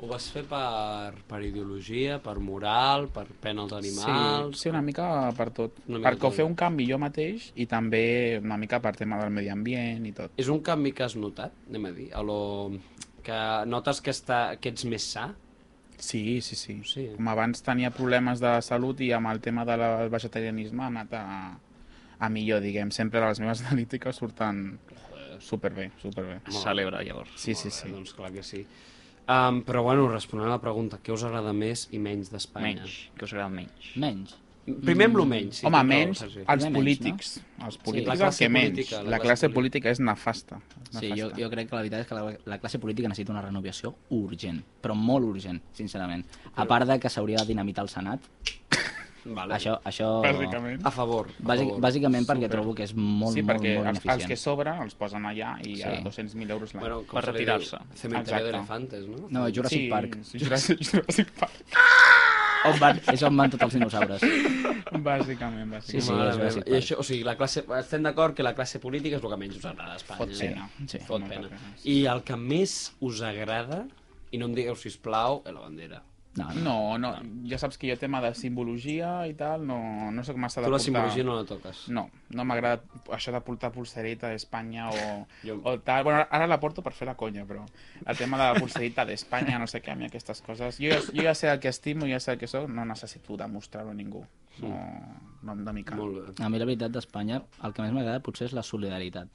Speaker 3: Ho vas fer per, per ideologia, per moral, per pena als
Speaker 5: Sí,
Speaker 3: animals...
Speaker 5: sí, una mica per tot.
Speaker 3: Una mica
Speaker 5: per
Speaker 3: tot.
Speaker 5: fer un canvi jo mateix i també una mica per tema del medi ambient i tot.
Speaker 3: És un canvi que has notat, anem a dir, a lo... que notes que, està, que ets més sa?
Speaker 5: Sí, sí, sí.
Speaker 3: Sí.
Speaker 5: Com abans tenia problemes de salut i amb el tema del vegetarianisme ha anat a, a millor, diguem. Sempre les meves analítiques surten superbé, superbé.
Speaker 4: Celebra, llavors.
Speaker 5: Sí, sí,
Speaker 3: Molt bé,
Speaker 5: sí.
Speaker 3: Doncs clar que sí. Um, però bueno, responent a la pregunta, què us agrada més i menys d'Espanya?
Speaker 4: Menys. Què us agrada menys?
Speaker 6: Menys.
Speaker 3: Primer amb lo menys. Sí,
Speaker 5: Home,
Speaker 3: tens raó,
Speaker 5: menys
Speaker 3: Sergi.
Speaker 5: els
Speaker 6: Primer menys,
Speaker 5: polítics. Els polítics
Speaker 3: la
Speaker 5: sí,
Speaker 3: classe
Speaker 5: els que menys.
Speaker 3: política, la
Speaker 5: La
Speaker 3: classe
Speaker 5: classe
Speaker 3: política.
Speaker 5: política és nefasta. és
Speaker 6: Sí, jo,
Speaker 5: nefasta.
Speaker 6: jo crec que la veritat és que la, la classe política necessita una renovació urgent, però molt urgent, sincerament. A part de que s'hauria de dinamitar el Senat,
Speaker 3: Vale.
Speaker 6: això... això...
Speaker 5: Bàsicament.
Speaker 3: A favor. A
Speaker 6: Bàsic,
Speaker 3: favor.
Speaker 6: bàsicament perquè
Speaker 5: Super.
Speaker 6: trobo que és Ah, molt,
Speaker 5: sí, perquè
Speaker 6: molt, molt
Speaker 5: els, els
Speaker 6: ineficient.
Speaker 5: que sobra els posen allà i a
Speaker 6: Sí.
Speaker 5: 200.000 euros l'any.
Speaker 3: Bueno, com
Speaker 4: Per
Speaker 3: se li
Speaker 4: retirar-se.
Speaker 3: diu? Cementerio
Speaker 5: Exacte.
Speaker 3: d'elefantes, no?
Speaker 6: No, Jurassic
Speaker 5: sí,
Speaker 6: Park.
Speaker 5: Sí, Jurassic, Jurassic Park.
Speaker 6: On van, és on van tots els dinosaures.
Speaker 5: Bàsicament, bàsicament.
Speaker 6: Sí, sí,
Speaker 3: Mare meva.
Speaker 6: és Jurassic
Speaker 3: I
Speaker 6: Park.
Speaker 3: això, o sigui, la classe, estem d'acord que la classe política és el que menys us agrada a Espanya.
Speaker 5: Fot pena.
Speaker 6: Sí.
Speaker 3: Fot
Speaker 5: Molta
Speaker 3: pena.
Speaker 5: pena, sí.
Speaker 3: I el que més us agrada, i no em digueu, sisplau, és la bandera.
Speaker 6: No, no.
Speaker 5: No, no, ja saps que jo tema de simbologia i tal, no, no sóc massa de
Speaker 3: Tu la
Speaker 5: portar-
Speaker 3: simbologia no la toques.
Speaker 5: No, no m'agrada això de portar pulserita d'Espanya o,
Speaker 3: Jo-
Speaker 5: o tal. Bueno, ara la porto per fer la conya, però el tema de la pulserita d'Espanya, no sé què, a mi aquestes coses... Jo, ja- jo ja sé el que estimo, jo ja sé el que sóc, no necessito demostrar-ho a ningú. No, no em de mica.
Speaker 3: Molt bé.
Speaker 6: A mi la veritat d'Espanya, el que més m'agrada potser és la solidaritat.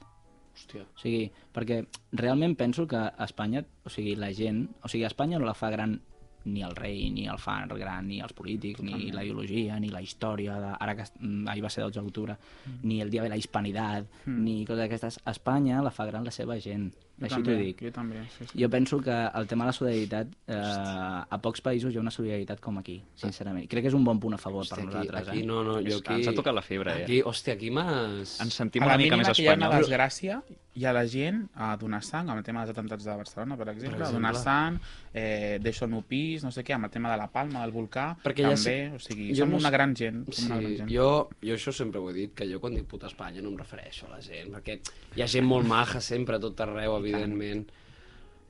Speaker 3: Hòstia.
Speaker 6: O sigui, perquè realment penso que a Espanya, o sigui, la gent... O sigui, a Espanya no la fa gran ni el rei, ni el fan gran, ni els polítics, ni la ideologia, ni la història, de, ara que es- mm, ahir va ser 12 d'octubre,
Speaker 3: Mm.
Speaker 6: ni el dia de la hispanidad, ni coses d'aquestes. A Espanya la fa gran la seva gent,
Speaker 5: Jo
Speaker 6: així
Speaker 5: també,
Speaker 6: t'ho dic.
Speaker 5: Jo també, sí, sí.
Speaker 6: Jo penso que el tema de la solidaritat, eh, a pocs països hi ha una solidaritat com aquí, sincerament. Crec que és un bon punt a favor
Speaker 3: Hòstia,
Speaker 6: per
Speaker 3: Ah. aquí,
Speaker 6: nosaltres,
Speaker 3: aquí,
Speaker 6: eh?
Speaker 3: no, no, jo
Speaker 4: És que
Speaker 3: aquí...
Speaker 4: ens ha tocat la fibra, eh?
Speaker 3: Aquí, hòstia, aquí m'has...
Speaker 4: Ens sentim
Speaker 5: a la
Speaker 4: una mica més
Speaker 5: mínima que hi ha una
Speaker 4: espanyols.
Speaker 5: desgràcia, hi ha la gent a donar sang, amb el tema dels atemptats de Barcelona, per exemple,
Speaker 3: exemple.
Speaker 5: a donar sang, eh, deixo el meu pis, no sé què, amb el tema de la palma, del volcà,
Speaker 3: Perquè ja
Speaker 5: també,
Speaker 3: sé-
Speaker 5: o sigui,
Speaker 3: jo
Speaker 5: som
Speaker 3: no
Speaker 5: una
Speaker 3: sé-
Speaker 5: gran gent. Som una gran
Speaker 3: Sí,
Speaker 5: gent.
Speaker 3: jo, jo això sempre ho he dit, que jo quan dic puta Espanya no em refereixo a la gent, perquè hi ha gent molt maja sempre a tot arreu, evidentment.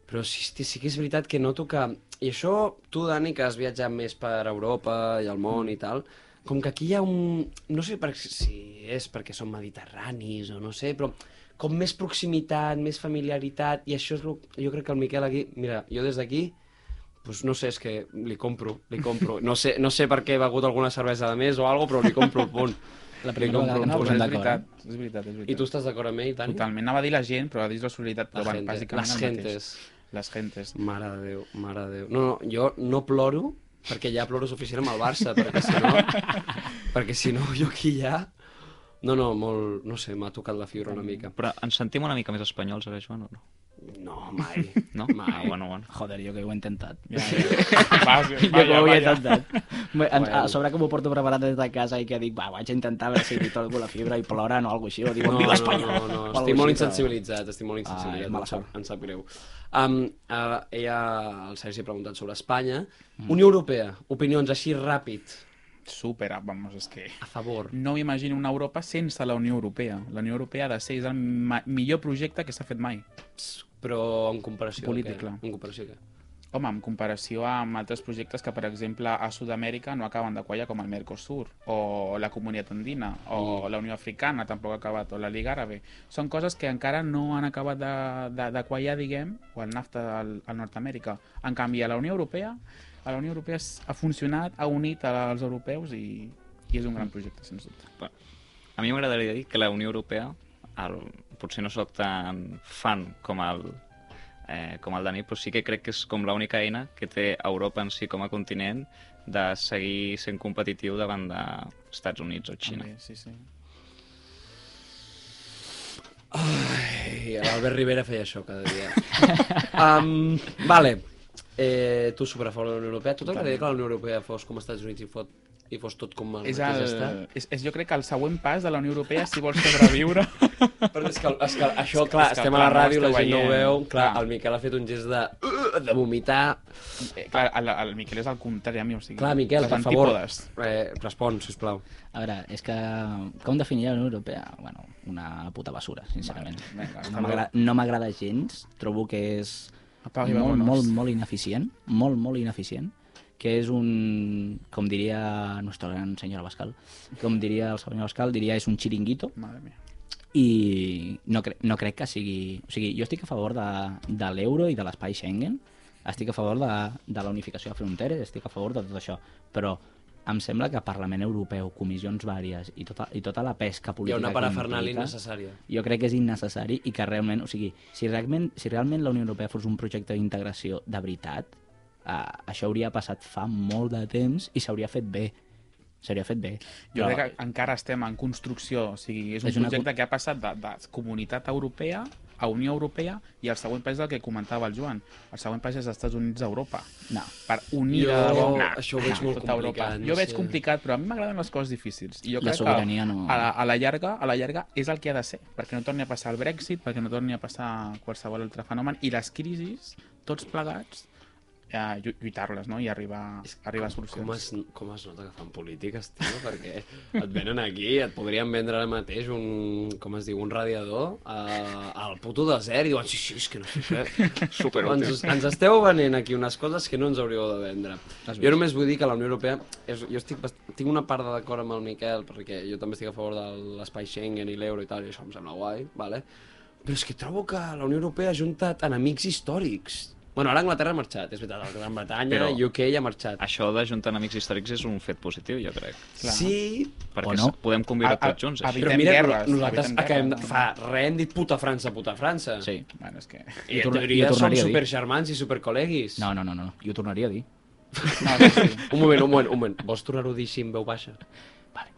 Speaker 3: Però sí, sí, sí que és veritat que noto que... I això, tu, Dani, que has viatjat més per Europa i el món i tal, com que aquí hi ha un... No sé per, si és perquè som mediterranis o no sé, però com més proximitat, més familiaritat, i això és el... Jo crec que el Miquel aquí... Mira, jo des d'aquí pues no sé, és que li compro, li compro. No sé, no sé per què he begut alguna cervesa de més o algo, però li compro el punt.
Speaker 6: La primera
Speaker 3: Li compro
Speaker 6: vegada que
Speaker 3: un Pues
Speaker 5: Pues
Speaker 6: no, posem
Speaker 5: és
Speaker 6: d'acord.
Speaker 5: veritat,
Speaker 6: eh?
Speaker 5: és veritat, és veritat.
Speaker 3: I tu estàs d'acord amb ell, Dani?
Speaker 5: Totalment. Anava a dir la gent, però dir la solidaritat,
Speaker 3: La
Speaker 5: però bueno,
Speaker 3: gente,
Speaker 5: bàsicament
Speaker 3: les
Speaker 5: el mateix.
Speaker 3: gentes.
Speaker 5: Les gentes.
Speaker 3: Mare de Déu, mare de Déu. No, no, jo no ploro perquè ja ploro suficient amb el Barça, perquè si no, perquè si no jo aquí ja... No, no, molt, no sé, m'ha tocat la fibra una mica.
Speaker 4: Però ens sentim una mica més espanyols ara, Joan, o no?
Speaker 3: No, mai.
Speaker 4: No? Ah,
Speaker 3: Mai.
Speaker 4: bueno, bueno.
Speaker 6: Joder, jo que ho he intentat.
Speaker 5: Ja, ja. Vas,
Speaker 6: Jo
Speaker 5: va, ja,
Speaker 6: que ho
Speaker 5: va,
Speaker 6: havia
Speaker 5: ja.
Speaker 6: intentat. Bé, en-
Speaker 3: Bueno.
Speaker 6: A sobre que m'ho porto preparat des de casa i que dic, va, vaig a intentar a veure si li torco la fibra i ploren o alguna cosa així, o
Speaker 3: No,
Speaker 6: diuen,
Speaker 3: no,
Speaker 6: viva
Speaker 3: no,
Speaker 6: Espanya!
Speaker 3: no, no.
Speaker 6: o
Speaker 3: estic
Speaker 6: algo
Speaker 3: molt
Speaker 6: així, però-
Speaker 3: insensibilitzat, estic molt
Speaker 6: Ai,
Speaker 3: insensibilitzat,
Speaker 6: mala
Speaker 3: em, sap,
Speaker 6: sort.
Speaker 3: em sap greu. Um, uh, ella, el Sergi ha preguntat sobre Espanya. Unió Europea, opinions així ràpid,
Speaker 5: Super, vamos, és que...
Speaker 3: a favor.
Speaker 5: No m'imagino una Europa sense la Unió Europea. La Unió Europea ha de ser és el ma- millor projecte que s'ha fet mai.
Speaker 3: Però en comparació
Speaker 5: Polític,
Speaker 3: a què?
Speaker 5: clar.
Speaker 3: En comparació a què?
Speaker 5: Home, en comparació amb altres projectes que, per exemple, a Sud-amèrica no acaben de quallar, com el Mercosur, o la Comunitat Andina, o la Unió Africana tampoc ha acabat, o la Liga Àrabe. Són coses que encara no han acabat de, de, de quallar, diguem, o el NAFTA al, al Nord-Amèrica. En canvi, a la Unió Europea, a la Unió Europea s- ha funcionat, ha unit als europeus i, i és un gran projecte, sens dubte.
Speaker 4: A mi m'agradaria dir que la Unió Europea, el, potser no sóc tan fan com el, eh, com el Dani, però sí que crec que és com l'única eina que té Europa en si com a continent de seguir sent competitiu davant d'Estats Units o Xina.
Speaker 5: També, sí, sí.
Speaker 3: Ei, L'Albert Rivera feia això cada dia. um, vale. Eh, tu super a favor de la Unió Europea. Tu t'agradaria que la Unió Europea fos com Estats Units i, fot, i fos tot com el
Speaker 5: És,
Speaker 3: mateix
Speaker 5: el,
Speaker 3: estat?
Speaker 5: és, és, jo crec que el següent pas de la Unió Europea, si vols sobreviure...
Speaker 3: Però és que, és que això, clar,
Speaker 5: és que,
Speaker 3: estem a
Speaker 5: clar,
Speaker 3: la
Speaker 5: no
Speaker 3: ràdio, la
Speaker 5: esteu
Speaker 3: gent no ho
Speaker 5: veient.
Speaker 3: veu. Clar,
Speaker 5: Clar.
Speaker 3: el Miquel ha fet un gest de... de vomitar.
Speaker 5: Eh, clar, el, el Miquel és el contrari a mi, o sigui...
Speaker 3: Clar, Miquel,
Speaker 5: els
Speaker 3: per favor,
Speaker 5: antípodes.
Speaker 3: eh, respon, sisplau.
Speaker 6: A veure, és que... Com definiria la Unió Europea? Bueno, una puta basura, sincerament.
Speaker 5: Vale, vinga,
Speaker 6: no
Speaker 5: hasta
Speaker 6: m'agra- no m'agrada gens, trobo que és
Speaker 5: Apaga i
Speaker 6: molt,
Speaker 5: vámonos.
Speaker 6: molt, molt ineficient, molt, molt ineficient, que és un, com diria nostre gran senyor Abascal, com diria el senyor Abascal, diria és un xiringuito,
Speaker 5: Madre mía.
Speaker 6: i no, cre no crec que sigui... O sigui, jo estic a favor de, de l'euro i de l'espai Schengen, estic a favor de, de la unificació de fronteres, estic a favor de tot això, però em sembla que Parlament Europeu, comissions vàries i tota, i tota la pesca
Speaker 3: Hi
Speaker 6: política...
Speaker 3: ha una
Speaker 6: que
Speaker 3: parafernal
Speaker 6: implica,
Speaker 3: innecessària.
Speaker 6: Jo crec que és innecessari i que realment... O sigui, si realment, si realment la Unió Europea fos un projecte d'integració de veritat, eh, això hauria passat fa molt de temps i s'hauria fet bé. S'hauria fet bé.
Speaker 5: Jo
Speaker 6: Però-
Speaker 5: crec que encara estem en construcció, o sigui, és un
Speaker 6: És
Speaker 5: és
Speaker 6: una
Speaker 5: projecte que ha passat de, de comunitat europea a Unió Europea i el següent país del que comentava el Joan. El següent país és els Estats Units d'Europa.
Speaker 6: No.
Speaker 5: Per unir
Speaker 3: Jo
Speaker 5: a Europa.
Speaker 3: això ho veig molt
Speaker 5: tota
Speaker 3: complicat, no
Speaker 5: Jo ho veig
Speaker 3: sé.
Speaker 5: complicat, però a mi m'agraden les coses difícils. I jo
Speaker 6: La
Speaker 5: crec
Speaker 6: sobirania
Speaker 5: que
Speaker 6: no-
Speaker 5: a, la, a, la llarga, a la llarga és el que ha de ser, perquè no torni a passar el Brexit, perquè no torni a passar qualsevol altre fenomen, i les crisis, tots plegats, eh, llu- lluitar-les no? i arribar, arribar a solucions.
Speaker 3: Com es, com es nota que fan polítiques, tio? Perquè et venen aquí, et podrien vendre ara mateix un, com es diu, un radiador a, al puto desert i diuen, sí, sí, és que no sé què.
Speaker 4: Superútil.
Speaker 3: ens, ens esteu venent aquí unes coses que no ens hauríeu de vendre. Jo només vull dir que la Unió Europea... És, jo estic, bast- tinc una part de d'acord amb el Miquel, perquè jo també estic a favor de l'espai Schengen i l'euro i tal, i això em sembla guai, vale? però és que trobo que la Unió Europea ha juntat enemics històrics. Bueno, ara Anglaterra ha marxat, és veritat, la Gran Bretanya,
Speaker 4: Però-
Speaker 3: però... UK ha marxat.
Speaker 4: Això de juntar enemics històrics és un fet positiu, jo crec.
Speaker 5: Clar.
Speaker 3: Sí,
Speaker 4: Perquè
Speaker 6: no.
Speaker 4: s- podem conviure
Speaker 5: A- a-
Speaker 4: tots junts,
Speaker 5: a-
Speaker 4: així.
Speaker 3: però
Speaker 5: Evitem
Speaker 3: mira,
Speaker 5: guerres,
Speaker 3: nosaltres
Speaker 5: evitem
Speaker 3: acabem de...
Speaker 5: guerres.
Speaker 3: Fa res hem dit puta França, puta França.
Speaker 6: Sí.
Speaker 5: Bueno, és que...
Speaker 3: I
Speaker 6: Jo
Speaker 3: en
Speaker 6: torna-
Speaker 3: teoria
Speaker 6: jo
Speaker 3: som
Speaker 6: tornaria a dir.
Speaker 3: supergermans i supercol·leguis.
Speaker 6: No, no, no, no. Jo ho tornaria a dir.
Speaker 5: No, sí, sí.
Speaker 3: Un moment, un moment, un moment. Vols tornar-ho a dir així en veu baixa?
Speaker 6: Vale.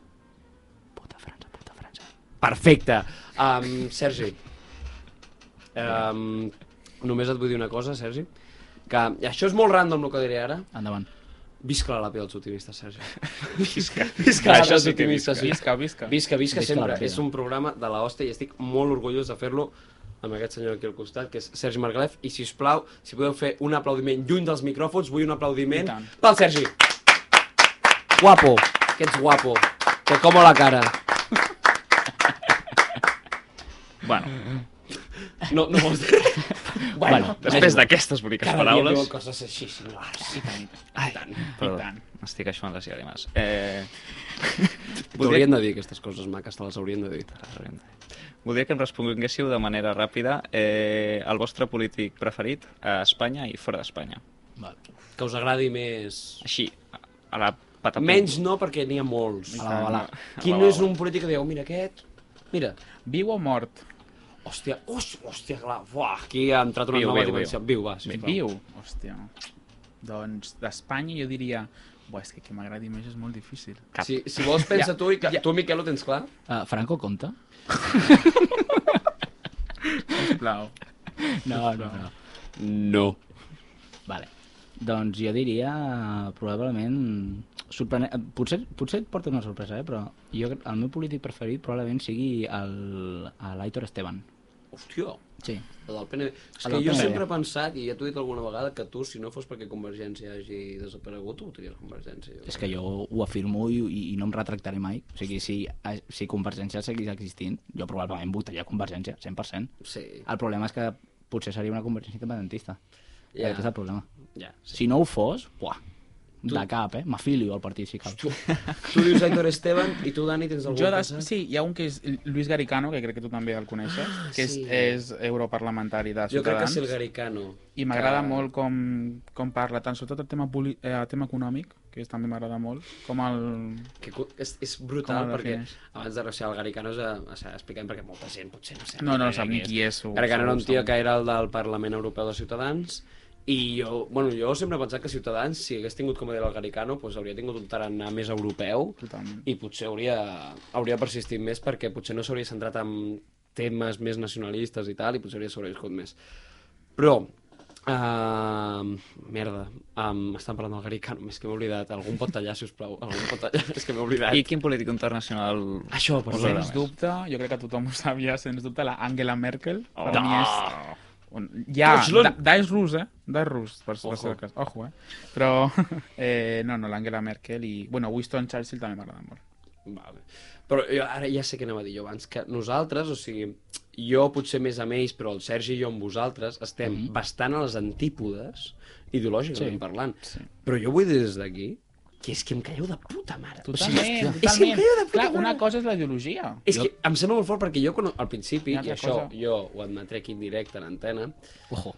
Speaker 6: Puta França, puta França.
Speaker 3: Perfecte. Um, Sergi, um, només et vull dir una cosa, Sergi, que això és molt random el que diré ara.
Speaker 6: Endavant.
Speaker 3: Visca la pell dels optimistes, Sergi. Visca, visca la
Speaker 4: Això
Speaker 3: pell dels
Speaker 4: sí que
Speaker 3: optimistes. sí.
Speaker 5: Visca, visca.
Speaker 3: Visca, visca,
Speaker 6: Visca la
Speaker 3: sempre.
Speaker 6: vida.
Speaker 3: És un programa de la hòstia i estic molt orgullós de fer-lo amb aquest senyor aquí al costat, que és Sergi Margalef. I, si us plau, si podeu fer un aplaudiment lluny dels micròfons, vull un
Speaker 5: I
Speaker 3: aplaudiment
Speaker 5: tant.
Speaker 3: pel Sergi. Guapo, que ets guapo. Te como la cara.
Speaker 4: Bueno,
Speaker 3: No, no vols dir...
Speaker 6: Bueno,
Speaker 4: després d'aquestes boniques
Speaker 3: Cada dia em
Speaker 4: paraules...
Speaker 3: diuen coses així similars. I tant. I tant.
Speaker 4: Perdó,
Speaker 5: I tant.
Speaker 4: estic això amb les llàgrimes. Eh,
Speaker 3: T'haurien de dir aquestes coses maques, te les haurien de dir.
Speaker 4: voldria que em responguéssiu de manera ràpida eh, el vostre polític preferit a Espanya i fora d'Espanya.
Speaker 3: Que us agradi més...
Speaker 4: Així, a la patapum.
Speaker 3: Menys no, perquè n'hi ha molts.
Speaker 6: A la babalà.
Speaker 3: Qui
Speaker 4: la
Speaker 3: no és
Speaker 4: babalà.
Speaker 3: un polític que diu, mira aquest, mira,
Speaker 5: Viu o mort?
Speaker 3: hòstia, hòstia, hòstia, clar, buah, aquí ha entrat una
Speaker 4: Viu,
Speaker 3: nova
Speaker 4: viu,
Speaker 3: dimensió. Viu, va, sisplau.
Speaker 5: Viu? Hòstia. Doncs d'Espanya jo diria... Buah, és que que m'agradi més és molt difícil.
Speaker 4: Cap.
Speaker 3: Si, si vols, pensa tu, i que, tu, Miquel, ho tens clar?
Speaker 6: Uh, Franco, compta?
Speaker 5: Sisplau.
Speaker 6: No, no, no.
Speaker 3: No.
Speaker 6: Vale. Doncs jo diria, eh, probablement... Sorprenent... eh, Potser, potser et porta una sorpresa, eh? però jo, cre- el meu polític preferit probablement sigui el, el Aitor Esteban.
Speaker 3: Hòstia,
Speaker 6: Sí.
Speaker 3: la del PNB. És
Speaker 6: La
Speaker 3: que
Speaker 6: del
Speaker 3: jo
Speaker 6: PNB.
Speaker 3: sempre he pensat, i ja t'ho he dit alguna vegada, que tu, si no fos perquè Convergència hagi desaparegut, ho votaries Convergència. Jo.
Speaker 6: És que jo ho afirmo i, i no em retractaré mai. O sigui, si, eh, si Convergència seguís existint, jo probablement votaria Convergència, 100%.
Speaker 3: Sí,
Speaker 6: El problema és que potser seria una Convergència independentista.
Speaker 3: Ja.
Speaker 6: Yeah. Aquest és el problema.
Speaker 3: ja.
Speaker 6: Si no ho fos, buah, de cap, eh? M'afilio al partit, si cal.
Speaker 3: Tu, tu dius Aitor Esteban i tu, Dani, tens algun
Speaker 5: Jo des... Sí, hi ha un que és Luis Garicano, que crec que tu també el coneixes, que és,
Speaker 3: Ah, sí.
Speaker 5: és europarlamentari de
Speaker 3: Jo crec que
Speaker 5: Ciutadans.
Speaker 3: és el Garicano.
Speaker 5: I m'agrada
Speaker 3: que-
Speaker 5: molt com, com parla, tant sobretot el tema, poli... eh, el tema econòmic, que és, també m'agrada molt, com el...
Speaker 3: Que cu- és, és
Speaker 5: Com
Speaker 3: brutal,
Speaker 5: el
Speaker 3: perquè
Speaker 5: defineix?
Speaker 3: abans de rebaixar el Garicano s'ha s'ha explicat perquè molta gent potser no sap.
Speaker 5: No, no, no
Speaker 3: gaire
Speaker 5: sap ni qui és. ho-
Speaker 3: Garicano era un
Speaker 5: segur,
Speaker 3: tio
Speaker 5: segur.
Speaker 3: que era el del Parlament Europeu de Ciutadans i jo, bueno, jo sempre he pensat que Ciutadans, si hagués tingut com a dir el Garicano, doncs hauria tingut un tarannà més europeu
Speaker 5: Totalment.
Speaker 3: i potser hauria, hauria persistit més perquè potser no s'hauria centrat en temes més nacionalistes i tal i potser hauria sobreviscut més. Però, uh, merda, um, estan parlant del Garicano, més que m'he oblidat. Algú em pot tallar, si us plau? Algú em pot tallar? És que m'he oblidat.
Speaker 4: I quin polític internacional...
Speaker 3: Això, per
Speaker 4: us agrada
Speaker 5: Sens
Speaker 4: més?
Speaker 5: dubte, jo crec que tothom ho sabia, sens dubte, la Angela Merkel, per
Speaker 4: Oh.
Speaker 5: mi
Speaker 3: Ah.
Speaker 5: és... Un, ja,
Speaker 3: Deutschland.
Speaker 5: da- d'és rus, eh? D'és rus, per, per
Speaker 3: Ojo.
Speaker 5: ser el cas. Ojo, eh? Però, eh, no, no, l'Angela Merkel i... Bueno, Winston Churchill també m'agrada molt.
Speaker 3: Vale. Però jo ara ja sé què anava a dir jo abans, que nosaltres, o sigui, jo potser més amb ells, però el Sergi i jo amb vosaltres, estem mm -hmm. bastant a les antípodes, ideològicament sí.
Speaker 6: Sí,
Speaker 3: parlant.
Speaker 5: sí.
Speaker 3: Però jo vull dir des d'aquí que és que em caieu de puta mare.
Speaker 5: Totalment,
Speaker 3: hòstia,
Speaker 5: totalment.
Speaker 3: És que em caieu de puta
Speaker 5: Clar,
Speaker 3: mare.
Speaker 5: una cosa és la ideologia.
Speaker 3: És que em sembla molt fort perquè jo, quan, al principi, i
Speaker 5: Una altra
Speaker 3: això
Speaker 5: cosa.
Speaker 3: jo ho admetré aquí en directe a l'antena,
Speaker 6: Ojo.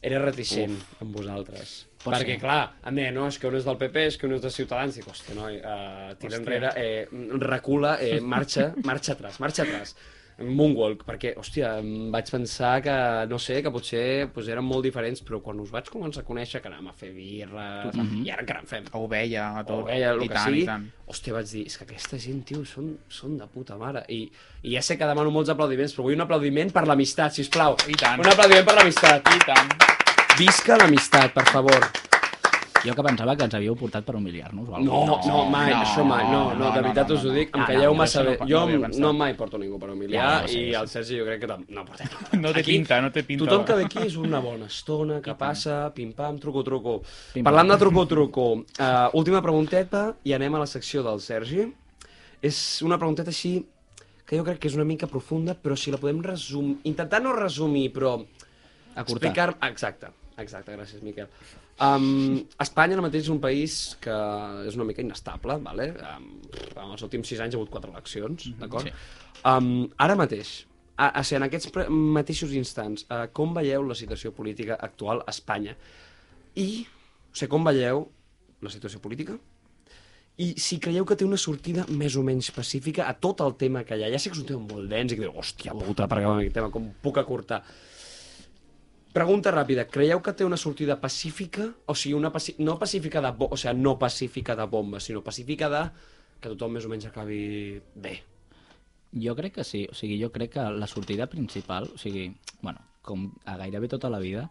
Speaker 3: era reticent Uf. amb vosaltres.
Speaker 6: Pot
Speaker 3: Pot Perquè,
Speaker 6: ser.
Speaker 3: clar, em deia, no, és que un és del PP, és que un és de Ciutadans. Dic, hòstia, noi, uh, tira enrere, eh, recula, eh, marxa, marxa atrás, marxa atrás. Moonwalk, perquè, hòstia, em vaig pensar que, no sé, que potser pues, eren molt diferents, però quan us vaig començar a conèixer que anàvem a fer birra, i ara encara en fem,
Speaker 5: A ovella, a tot.
Speaker 3: o veia el
Speaker 5: I
Speaker 3: que
Speaker 5: tant,
Speaker 3: sigui,
Speaker 5: i tant.
Speaker 3: hòstia, vaig dir, és que aquesta gent, tio, són, són de puta mare. I, I ja sé que demano molts aplaudiments, però vull un aplaudiment per l'amistat, sisplau.
Speaker 5: I tant.
Speaker 3: Un aplaudiment per l'amistat.
Speaker 5: I tant.
Speaker 3: Visca l'amistat, per favor.
Speaker 6: Jo que pensava que ens havíeu portat per humiliar-nos o
Speaker 3: No,
Speaker 6: alguna
Speaker 3: no,
Speaker 6: cosa.
Speaker 3: no mai,
Speaker 5: no,
Speaker 3: això mai, no, no,
Speaker 5: no,
Speaker 3: de
Speaker 5: no,
Speaker 3: veritat
Speaker 5: no,
Speaker 3: us ho
Speaker 5: no.
Speaker 3: dic, em
Speaker 5: Ah,
Speaker 3: calleu
Speaker 5: no,
Speaker 3: massa
Speaker 5: això no
Speaker 3: bé.
Speaker 5: ho- no
Speaker 3: jo
Speaker 5: ho havia pensat.
Speaker 3: no mai porto ningú per humiliar
Speaker 6: Ja, ja ho sé,
Speaker 3: i
Speaker 6: ja
Speaker 3: el Sergi jo crec que tam- no porta ningú.
Speaker 5: No té pinta, no té pinta.
Speaker 3: Tothom que ve aquí és una bona estona, que passa, pim-pam, truco-truco.
Speaker 6: Pim-pam.
Speaker 3: Parlant de truco-truco, uh, última pregunteta i anem a la secció del Sergi. És una pregunteta així que jo crec que és una mica profunda, però si la podem resumir... Intentar no resumir, però
Speaker 6: Acortar.
Speaker 3: Explicar... Exacte, exacte, gràcies, Miquel. Um, Espanya ara mateix és un país que és una mica inestable, vale? Um, en els últims sis anys hi ha hagut quatre eleccions, d'acord? Um, ara mateix, a, a, ser en aquests pre- mateixos instants, uh, com veieu la situació política actual a Espanya? I, o sigui, com veieu la situació política? I si creieu que té una sortida més o menys pacífica a tot el tema que hi ha. Ja sé que és un tema molt dens i que diu, hòstia puta, per acabar amb aquest tema, com puc acortar? Pregunta ràpida, creieu que té una sortida pacífica? O sigui, una paci... no pacífica de... Bo... O sigui, no pacífica de bombes, sinó pacífica de... que tothom més o menys acabi bé.
Speaker 6: Jo crec que sí, o sigui, jo crec que la sortida principal, o sigui, bueno, com a gairebé tota la vida,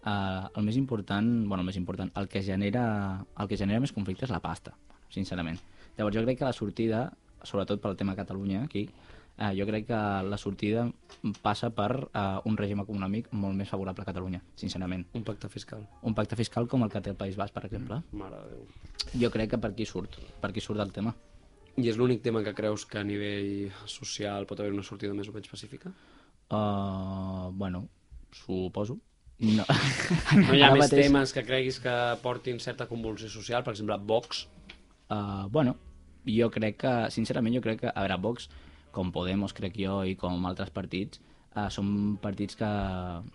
Speaker 6: eh, el més important, bueno, el més important, el que genera, el que genera més conflicte és la pasta, sincerament. Llavors jo crec que la sortida, sobretot pel tema Catalunya aquí, eh, jo crec que la sortida passa per eh, un règim econòmic molt més favorable a Catalunya, sincerament.
Speaker 3: Un pacte fiscal.
Speaker 6: Un pacte fiscal com el que té el País Basc,
Speaker 3: Mm.
Speaker 6: per exemple,
Speaker 3: Mare de Déu.
Speaker 6: jo crec que per aquí surt, per aquí surt el tema.
Speaker 3: I és l'únic tema que creus que a nivell social pot haver una sortida més o menys pacífica?
Speaker 6: Uh, bueno, suposo. No,
Speaker 3: No hi ha més temes que creguis que portin certa convulsió social, per exemple, Vox.
Speaker 6: Uh, bueno, jo crec que, sincerament, jo crec que, a veure, Vox, com Podemos, crec jo, i com altres partits, eh, són partits que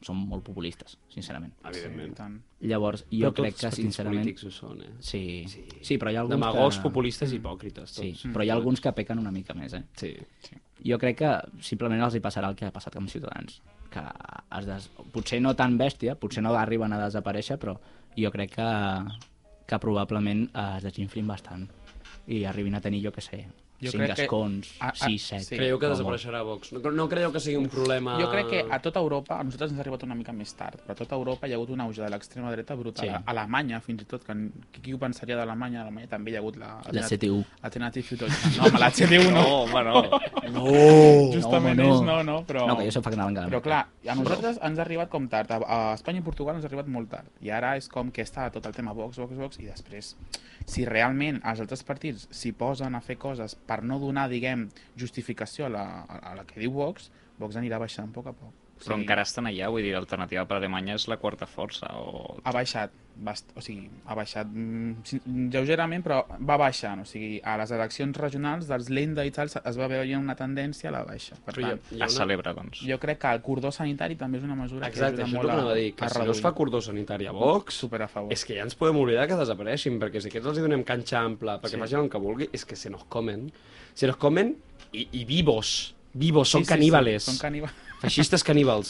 Speaker 6: són molt populistes, sincerament.
Speaker 3: evidentment.
Speaker 5: tant.
Speaker 6: Llavors, jo
Speaker 3: Però tots
Speaker 6: crec
Speaker 3: els
Speaker 6: que,
Speaker 3: partits
Speaker 6: sincerament...
Speaker 3: polítics ho són, eh?
Speaker 6: Sí. sí. sí, però hi ha alguns
Speaker 3: Demagogs,
Speaker 6: que... Mm.
Speaker 3: populistes Mm. i hipòcrites,
Speaker 6: Sí,
Speaker 3: tots.
Speaker 6: però hi ha alguns que pequen una mica més, eh?
Speaker 3: Sí.
Speaker 6: Jo crec que simplement els hi passarà el que ha passat amb Ciutadans, que es des... potser no tan bèstia, potser no arriben a desaparèixer, però jo crec que, que probablement eh, es desinflin bastant i arribin a tenir, jo què sé,
Speaker 5: Jo
Speaker 6: 5
Speaker 5: crec que-
Speaker 6: escons,
Speaker 5: Ah, ah,
Speaker 6: 6, 7...
Speaker 5: sí.
Speaker 3: Creieu que
Speaker 6: com a molt.
Speaker 3: desapareixerà Vox? No, no creieu que sigui un problema...
Speaker 5: Jo crec que a tota Europa, a nosaltres ens ha arribat una mica més tard, però a tota Europa hi ha hagut un auge de l'extrema dreta brutal.
Speaker 6: Sí.
Speaker 5: Sí. Alemanya, fins i tot, que qui, qui ho pensaria d'Alemanya? A Alemanya també hi ha hagut la...
Speaker 6: La CTU.
Speaker 5: Alternative to Deutschland. No, home, la CTU no.
Speaker 4: No, home, no.
Speaker 5: Justament
Speaker 6: Oh, No,
Speaker 5: no,
Speaker 6: home,
Speaker 5: ells
Speaker 6: no.
Speaker 5: no, no, però...
Speaker 6: No, que jo soc fan gran.
Speaker 5: Però clar, a nosaltres ens ha arribat com tard. A, a Espanya i Portugal ens ha arribat molt tard. I ara és com que està tot el tema Vox, Vox, Vox, i després, si realment els altres partits s'hi posen a fer coses per no donar, diguem, justificació a la, a la que diu Vox, Vox anirà baixant a poc a poc. O
Speaker 4: Però
Speaker 5: sigui,
Speaker 4: encara estan allà, vull dir, l'alternativa per Alemanya és la quarta força, o...
Speaker 5: ha baixat, bast... o sigui, ha baixat mm, sí, lleugerament, però va baixant. O sigui, a les eleccions regionals dels Lenda i tal es va veure una tendència a la baixa. Per
Speaker 3: Però hi ha,
Speaker 5: tant,
Speaker 3: hi ha
Speaker 4: La
Speaker 3: una...
Speaker 4: celebra, doncs.
Speaker 5: jo crec que el cordó sanitari també és una mesura
Speaker 3: Exacte, això és
Speaker 5: que ajuda
Speaker 3: el
Speaker 5: molt
Speaker 3: que anava a dir, que si no es fa cordó sanitari a Vox,
Speaker 5: super a favor.
Speaker 3: és que ja ens podem oblidar que desapareixin, perquè si aquests els hi donem canxa ampla perquè
Speaker 5: Sí.
Speaker 3: facin el que vulgui, és que se nos comen. Se nos comen i, i vivos. Vivos,
Speaker 5: Sí,
Speaker 3: són
Speaker 5: sí,
Speaker 3: caníbales.
Speaker 5: Sí, són caníbales.
Speaker 3: Feixistes caníbals.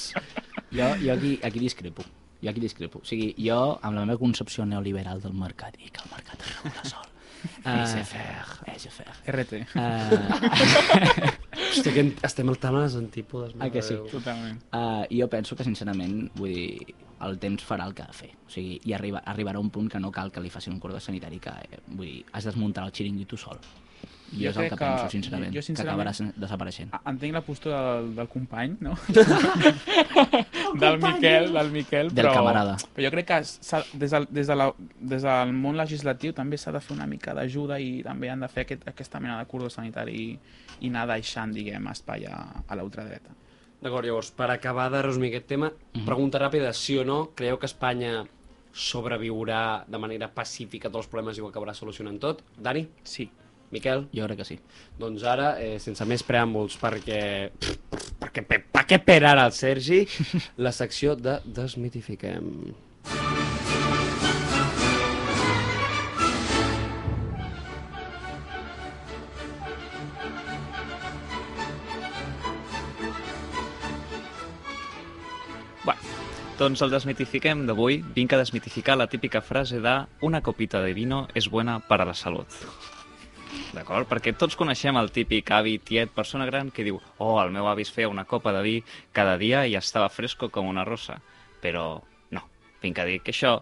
Speaker 6: Jo, jo aquí, aquí discrepo. Jo aquí discrepo. O sigui, jo, amb la meva concepció neoliberal del mercat, i que el mercat es regula sol. Eh, Laissez faire. Laissez faire.
Speaker 5: RT.
Speaker 6: Uh,
Speaker 3: Hòstia, que en- estem al tant a les antípodes. mare
Speaker 6: Ah, que sí?
Speaker 3: de Déu.
Speaker 5: Totalment.
Speaker 6: uh, jo penso que, sincerament, vull dir, el temps farà el que ha de fer. O sigui, i arriba, arribarà un punt que no cal que li facin un cordó sanitari, que, eh, vull dir, has desmuntat el xiringuito sol. I
Speaker 5: Jo
Speaker 6: jo és el
Speaker 5: crec
Speaker 6: que,
Speaker 5: que-
Speaker 6: penso, sincerament,
Speaker 5: jo,
Speaker 6: jo, sincerament, que acabarà sen- desapareixent.
Speaker 5: Ah, Entenc la postura del, del company, no? del Miquel, del Miquel,
Speaker 6: Del
Speaker 5: però...
Speaker 6: camarada.
Speaker 5: Però jo crec que s'ha- des del, des, de la, des del món legislatiu també s'ha de fer una mica d'ajuda i també han de fer aquest, aquesta mena de cordó sanitari i, i anar deixant, diguem, espai a, a la ultradreta.
Speaker 3: D'acord, llavors, per acabar de resumir aquest tema,
Speaker 5: Mhm.
Speaker 3: pregunta ràpida, sí o no, creieu que Espanya sobreviurà de manera pacífica a tots els problemes i ho acabarà solucionant tot? Dani?
Speaker 5: Sí.
Speaker 3: Miquel?
Speaker 6: Jo crec que sí.
Speaker 3: Doncs ara, eh, sense més preàmbuls, perquè... Perquè, per, per què per ara el Sergi? La secció de Desmitifiquem.
Speaker 4: Bé, doncs el desmitifiquem d'avui. Vinc a desmitificar la típica frase de una copita de vino és buena para la salut. D'acord? Perquè tots coneixem el típic avi, tiet, persona gran que diu oh, el meu avi es feia una copa de vi cada dia i estava fresco com una rosa. Però no, vinc a dir que això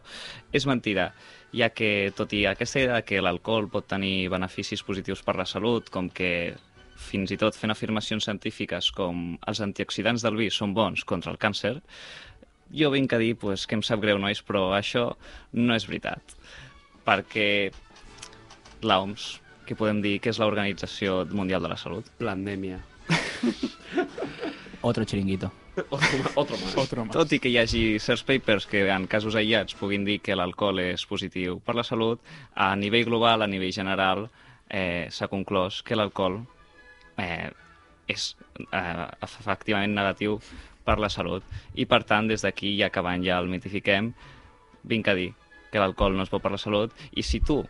Speaker 4: és mentida, ja que tot i aquesta idea que l'alcohol pot tenir beneficis positius per la salut, com que fins i tot fent afirmacions científiques com els antioxidants del vi són bons contra el càncer, jo vinc a dir pues, que em sap greu, nois, però això no és veritat. Perquè l'OMS, que podem dir que és l'Organització Mundial de la Salut,
Speaker 3: Pandèmia.
Speaker 6: Otro chiringuito.
Speaker 3: Otro, ma- otro más.
Speaker 5: Otro más.
Speaker 4: tot i que hi hagi certs papers que en casos aïllats puguin dir que l'alcohol és positiu per la salut, a nivell global, a nivell general, eh, s'ha conclòs que l'alcohol eh, és eh, efectivament negatiu per la salut. I per tant, des d'aquí, i acabant ja el mitifiquem, vinc a dir que l'alcohol no és bo per la salut i si tu